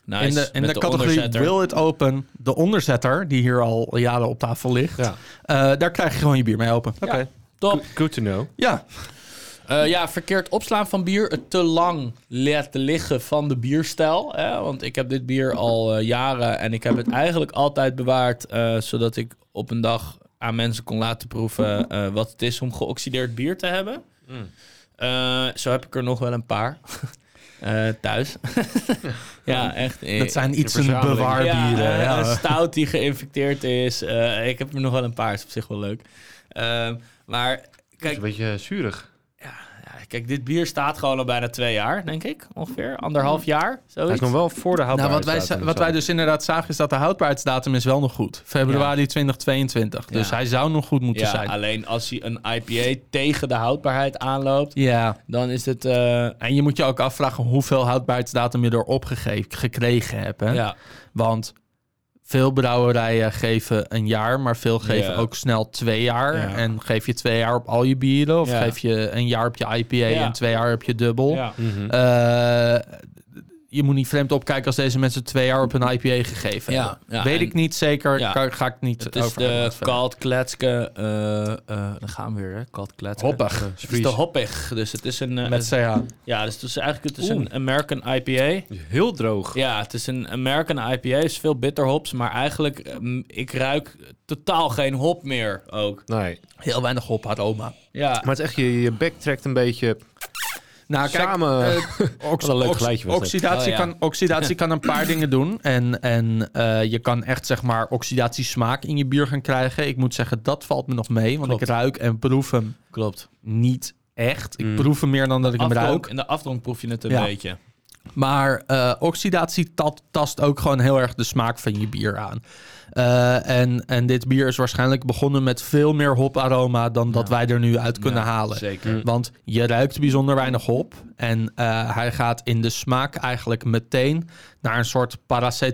[SPEAKER 4] nice,
[SPEAKER 3] in de, in
[SPEAKER 4] met
[SPEAKER 3] de, categorie
[SPEAKER 4] onderzetter.
[SPEAKER 3] Will It Open, de onderzetter, die hier al jaren op tafel ligt.
[SPEAKER 2] Ja.
[SPEAKER 3] eh, daar krijg je gewoon je bier mee open.
[SPEAKER 2] Oké,
[SPEAKER 4] Top.
[SPEAKER 2] Good- good to know.
[SPEAKER 3] Ja,
[SPEAKER 4] Eh, ja, verkeerd opslaan van bier. Het te lang laten liggen van de bierstijl. Hè? Want ik heb dit bier al eh, jaren en ik heb het eigenlijk altijd bewaard. eh, zodat ik op een dag aan mensen kon laten proeven eh, wat het is om geoxideerd bier te hebben. Eh, zo heb ik er nog wel een paar Eh, thuis. ja, echt. eh,
[SPEAKER 3] dat zijn iets
[SPEAKER 2] de
[SPEAKER 3] een
[SPEAKER 2] verzameling.
[SPEAKER 3] bewaarbieren.
[SPEAKER 4] eh,
[SPEAKER 3] ja.
[SPEAKER 4] Een stout die geïnfecteerd is. Eh, ik heb er nog wel een paar, is op zich wel leuk. Ehm, maar
[SPEAKER 2] Het is
[SPEAKER 4] kijk,
[SPEAKER 2] een beetje eh, zuurig.
[SPEAKER 4] ja, kijk, dit bier staat gewoon al bijna twee jaar, denk ik. Ongeveer anderhalf jaar. Zoiets.
[SPEAKER 2] Hij is nog wel voor de
[SPEAKER 3] Nou, wat
[SPEAKER 2] houdbaarheid.
[SPEAKER 3] wij, za- wat wij dus inderdaad zagen is dat de houdbaarheidsdatum is wel nog goed. Februari 2022. Dus
[SPEAKER 4] Ja.
[SPEAKER 3] hij zou nog goed moeten
[SPEAKER 4] ja,
[SPEAKER 3] zijn.
[SPEAKER 4] alleen als hij een IPA tegen de houdbaarheid aanloopt,
[SPEAKER 3] Ja.
[SPEAKER 4] dan is het. eh,
[SPEAKER 3] En je moet je ook afvragen hoeveel houdbaarheidsdatum je erop gege- gekregen hebt. Hè?
[SPEAKER 4] ja,
[SPEAKER 3] Want veel brouwerijen geven een jaar, maar veel geven
[SPEAKER 4] Ja.
[SPEAKER 3] ook snel twee jaar.
[SPEAKER 4] Ja.
[SPEAKER 3] En geef je twee jaar op al je bieren, of
[SPEAKER 4] Ja.
[SPEAKER 3] geef je een jaar op je IPA
[SPEAKER 4] Ja.
[SPEAKER 3] en twee jaar op je dubbel.
[SPEAKER 4] ja.
[SPEAKER 2] Mhm.
[SPEAKER 3] Eh, je moet niet vreemd opkijken als deze mensen twee jaar op een IPA gegeven
[SPEAKER 4] Ja,
[SPEAKER 3] hebben.
[SPEAKER 4] ja,
[SPEAKER 3] Weet
[SPEAKER 4] en-
[SPEAKER 3] ik niet zeker.
[SPEAKER 4] Ja.
[SPEAKER 3] Ga, ga ik niet
[SPEAKER 4] Het is
[SPEAKER 3] over
[SPEAKER 4] de
[SPEAKER 3] verder.
[SPEAKER 4] Kalt Kletske. eh, eh, dan gaan we weer, hè? Kalt Kletske.
[SPEAKER 3] Hoppig.
[SPEAKER 2] Eh,
[SPEAKER 4] Het is de hoppig. Dus het is een. eh,
[SPEAKER 3] Met CH.
[SPEAKER 4] ja, dus het is eigenlijk het is
[SPEAKER 2] Oeh.
[SPEAKER 4] een American IPA.
[SPEAKER 2] Heel droog.
[SPEAKER 4] Ja, het is een American IPA. Het is veel bitter hops, maar eigenlijk ehm, ik ruik totaal geen hop meer ook.
[SPEAKER 2] Nee.
[SPEAKER 3] Heel weinig hop aroma.
[SPEAKER 4] Ja,
[SPEAKER 2] Maar het is echt, je, je bek trekt een beetje
[SPEAKER 4] Ah,
[SPEAKER 3] Nou, kijk,
[SPEAKER 2] samen.
[SPEAKER 3] eh, ox-
[SPEAKER 2] Wat een leuk
[SPEAKER 3] ox-
[SPEAKER 2] geluidje was dat.
[SPEAKER 3] oxidatie,
[SPEAKER 4] Oh, ja.
[SPEAKER 3] kan, oxidatie kan een paar dingen doen. En, en eh, je kan echt, zeg maar, oxidatiesmaak in je bier gaan krijgen. Ik moet zeggen, dat valt me nog mee. Want ik
[SPEAKER 4] Klopt.
[SPEAKER 3] ruik en proef hem
[SPEAKER 4] klopt.
[SPEAKER 3] niet echt. Ik
[SPEAKER 2] Mm.
[SPEAKER 3] proef hem meer dan dat ik hem
[SPEAKER 4] Afdronk,
[SPEAKER 3] ruik.
[SPEAKER 4] in de afdronk proef je het een
[SPEAKER 3] Ja.
[SPEAKER 4] beetje.
[SPEAKER 3] Maar eh, oxidatie tat- tast ook gewoon heel erg de smaak van je bier aan. Eh, en, en dit bier is waarschijnlijk begonnen met veel meer hoparoma dan dat wij er nu uit kunnen
[SPEAKER 4] Ja,
[SPEAKER 3] halen.
[SPEAKER 4] Zeker.
[SPEAKER 3] Want je ruikt bijzonder weinig hop. En eh, hij gaat in de smaak eigenlijk meteen naar een soort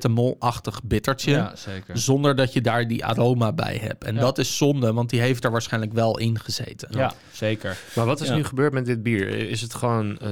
[SPEAKER 3] paracetamol-achtig bittertje.
[SPEAKER 4] zeker.
[SPEAKER 3] Zonder dat je daar die aroma bij hebt. En
[SPEAKER 4] Ja.
[SPEAKER 3] dat is zonde, want die heeft er waarschijnlijk wel in gezeten.
[SPEAKER 4] Ja, zeker.
[SPEAKER 2] Maar wat is
[SPEAKER 4] Ja.
[SPEAKER 2] nu gebeurd met dit bier? Is het gewoon eh,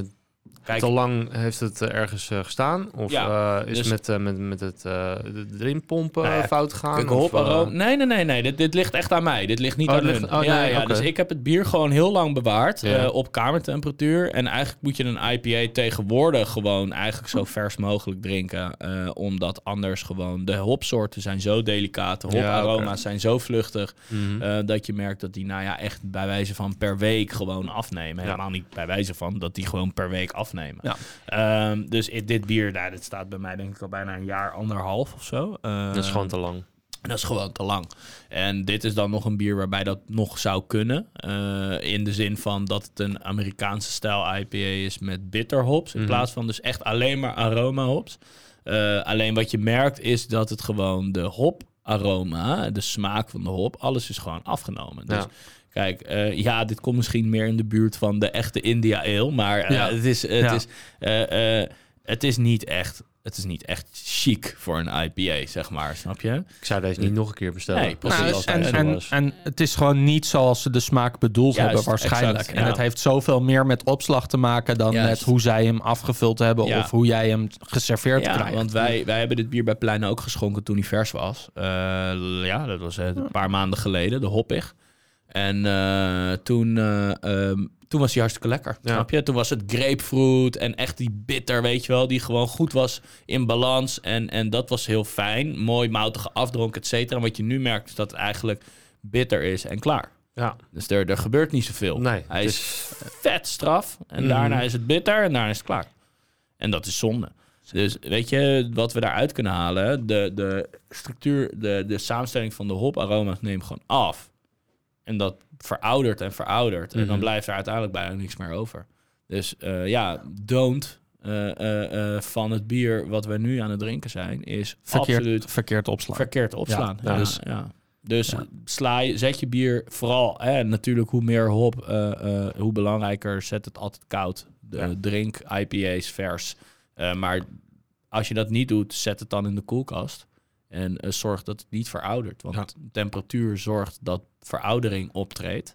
[SPEAKER 4] Kijk,
[SPEAKER 2] te lang heeft het eh, ergens eh, gestaan? Of
[SPEAKER 4] Ja,
[SPEAKER 2] eh, is
[SPEAKER 4] dus-
[SPEAKER 2] het met, eh, met, met het eh, de- de erin pompen
[SPEAKER 4] Nou ja,
[SPEAKER 2] fout gegaan?
[SPEAKER 4] kijk,
[SPEAKER 2] Of,
[SPEAKER 4] hop,
[SPEAKER 2] eh,
[SPEAKER 4] aroom- Nee, nee, nee, nee. Dit, dit ligt echt aan mij. Dit ligt niet
[SPEAKER 2] Oh,
[SPEAKER 4] aan
[SPEAKER 2] dit
[SPEAKER 4] hun.
[SPEAKER 2] ligt- oh,
[SPEAKER 4] ja,
[SPEAKER 2] nee,
[SPEAKER 4] ja,
[SPEAKER 2] oké.
[SPEAKER 4] Dus ik heb het bier gewoon heel lang bewaard.
[SPEAKER 2] Ja.
[SPEAKER 4] eh, op kamertemperatuur. En eigenlijk moet je een IPA tegenwoordig gewoon eigenlijk zo vers mogelijk drinken. eh, omdat anders gewoon de hopsoorten zijn zo delicaat. De
[SPEAKER 2] Ja,
[SPEAKER 4] hoparoma's zijn zo vluchtig.
[SPEAKER 2] mhm.
[SPEAKER 4] eh, dat je merkt dat die nou ja echt bij wijze van per week gewoon afnemen.
[SPEAKER 2] Ja.
[SPEAKER 4] Helemaal niet bij wijze van. Dat die gewoon per week afnemen.
[SPEAKER 3] Ja.
[SPEAKER 4] Ehm, dus i- dit bier, nou, dit staat bij mij denk ik al bijna een jaar, anderhalf of zo.
[SPEAKER 2] dat is gewoon te lang.
[SPEAKER 4] Dat is gewoon te lang. En dit is dan nog een bier waarbij dat nog zou kunnen. Eh, in de zin van dat het een Amerikaanse stijl IPA is met bitter hops.
[SPEAKER 3] Mhm.
[SPEAKER 4] In plaats van dus echt alleen maar aroma hops. Eh, alleen wat je merkt is dat het gewoon de hop aroma, de smaak van de hop, alles is gewoon afgenomen. Dus
[SPEAKER 2] Ja.
[SPEAKER 4] kijk, eh, ja, dit komt misschien meer in de buurt van de echte India Ale. Maar eh,
[SPEAKER 3] Ja.
[SPEAKER 4] het, is, het,
[SPEAKER 3] Ja.
[SPEAKER 4] is, eh, eh, het is niet echt... Het is niet echt chic voor een IPA, zeg maar, snap je?
[SPEAKER 2] Ik zou deze niet nog een keer bestellen.
[SPEAKER 4] Nee,
[SPEAKER 2] Als die
[SPEAKER 3] Nou,
[SPEAKER 4] precies.
[SPEAKER 2] al
[SPEAKER 3] en,
[SPEAKER 2] zo
[SPEAKER 3] en,
[SPEAKER 2] was.
[SPEAKER 3] en het is gewoon niet zoals ze de smaak bedoeld
[SPEAKER 4] Juist,
[SPEAKER 3] hebben waarschijnlijk.
[SPEAKER 4] exact,
[SPEAKER 3] En
[SPEAKER 4] ja.
[SPEAKER 3] het heeft zoveel meer met opslag te maken dan
[SPEAKER 4] Juist.
[SPEAKER 3] met hoe zij hem afgevuld hebben
[SPEAKER 4] Ja.
[SPEAKER 3] of hoe jij hem geserveerd
[SPEAKER 4] Ja,
[SPEAKER 3] krijgt.
[SPEAKER 4] want wij, wij hebben dit bier bij Plein ook geschonken toen hij vers was. Eh, ja, dat was eh, een paar maanden geleden, de hoppig. En eh, toen, eh, ehm, toen was hij hartstikke lekker,
[SPEAKER 2] Ja.
[SPEAKER 4] snap je? Toen was het grapefruit en echt die bitter, weet je wel, die gewoon goed was in balans. En, en dat was heel fijn, mooi moutige afdronk, et cetera. En wat je nu merkt is dat het eigenlijk bitter is en klaar.
[SPEAKER 2] Ja,
[SPEAKER 4] Dus er, er gebeurt niet zoveel.
[SPEAKER 2] nee. dus-
[SPEAKER 4] Hij
[SPEAKER 2] het
[SPEAKER 4] is vet straf. En daarna is het bitter en daarna is het klaar. En dat is zonde. Dus weet je wat we daaruit kunnen halen? De, de structuur, de, de samenstelling van de hoparoma's neemt gewoon af. En dat veroudert en veroudert. En dan
[SPEAKER 2] Mhm.
[SPEAKER 4] blijft er uiteindelijk bijna niks meer over. Dus eh, ja, don't eh, eh, eh, van het bier wat we nu aan het drinken zijn, is absoluut
[SPEAKER 3] verkeerd, verkeerd opslag.
[SPEAKER 4] verkeerd opslaan.
[SPEAKER 2] Ja,
[SPEAKER 4] Ja,
[SPEAKER 2] ja.
[SPEAKER 4] Dus, ja. dus sla je, zet je bier vooral. Hè, natuurlijk, hoe meer hop, eh, eh, hoe belangrijker. Zet het altijd koud. De,
[SPEAKER 2] Ja.
[SPEAKER 4] Drink IPA's vers. Eh, maar als je dat niet doet, zet het dan in de koelkast. En eh, zorg dat het niet veroudert. Want
[SPEAKER 2] Ja.
[SPEAKER 4] temperatuur zorgt dat veroudering optreedt.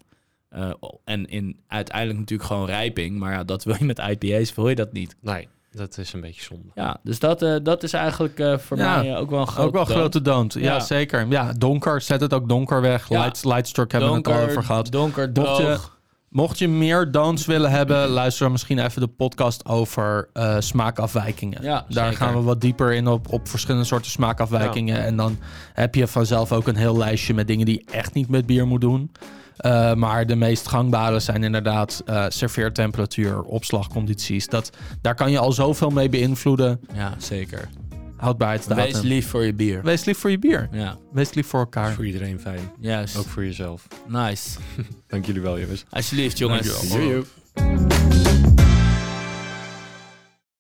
[SPEAKER 4] Eh, en in, uiteindelijk natuurlijk gewoon rijping. Maar ja, dat wil je met IPA's, wil je dat niet.
[SPEAKER 2] Nee, dat is een beetje zonde.
[SPEAKER 4] Ja, dus dat, eh, dat is eigenlijk eh, voor
[SPEAKER 3] Ja,
[SPEAKER 4] mij eh, ook wel een grote
[SPEAKER 3] Ook wel
[SPEAKER 4] dood.
[SPEAKER 3] grote don't. Ja,
[SPEAKER 4] Ja.
[SPEAKER 3] zeker. Ja, donker. Zet het ook donker weg.
[SPEAKER 4] Ja.
[SPEAKER 3] Light, Lightstruck hebben we het al over gehad.
[SPEAKER 4] Donker,
[SPEAKER 3] Mocht je,
[SPEAKER 4] droog.
[SPEAKER 3] mocht je meer don'ts willen hebben, luister dan misschien even de podcast over eh, smaakafwijkingen.
[SPEAKER 4] Ja,
[SPEAKER 3] Daar
[SPEAKER 4] zeker.
[SPEAKER 3] gaan we wat dieper in op, op verschillende soorten smaakafwijkingen. En dan heb je vanzelf ook een heel lijstje met dingen die je echt niet met bier moet doen. Eh, maar de meest gangbare zijn inderdaad eh, serveertemperatuur, opslagcondities. Dat, daar kan je al zoveel mee beïnvloeden.
[SPEAKER 4] Ja, zeker.
[SPEAKER 3] Houdbaarheidsdatum.
[SPEAKER 4] Wees lief voor je bier.
[SPEAKER 3] Wees lief voor je bier.
[SPEAKER 4] Ja,
[SPEAKER 3] Wees lief voor
[SPEAKER 2] Dat is
[SPEAKER 3] elkaar.
[SPEAKER 2] voor iedereen fijn.
[SPEAKER 4] juist.
[SPEAKER 2] Ook voor jezelf.
[SPEAKER 4] Nice.
[SPEAKER 2] Dank jullie wel, jongens.
[SPEAKER 4] Alsjeblieft, jongens.
[SPEAKER 2] Joe, joe.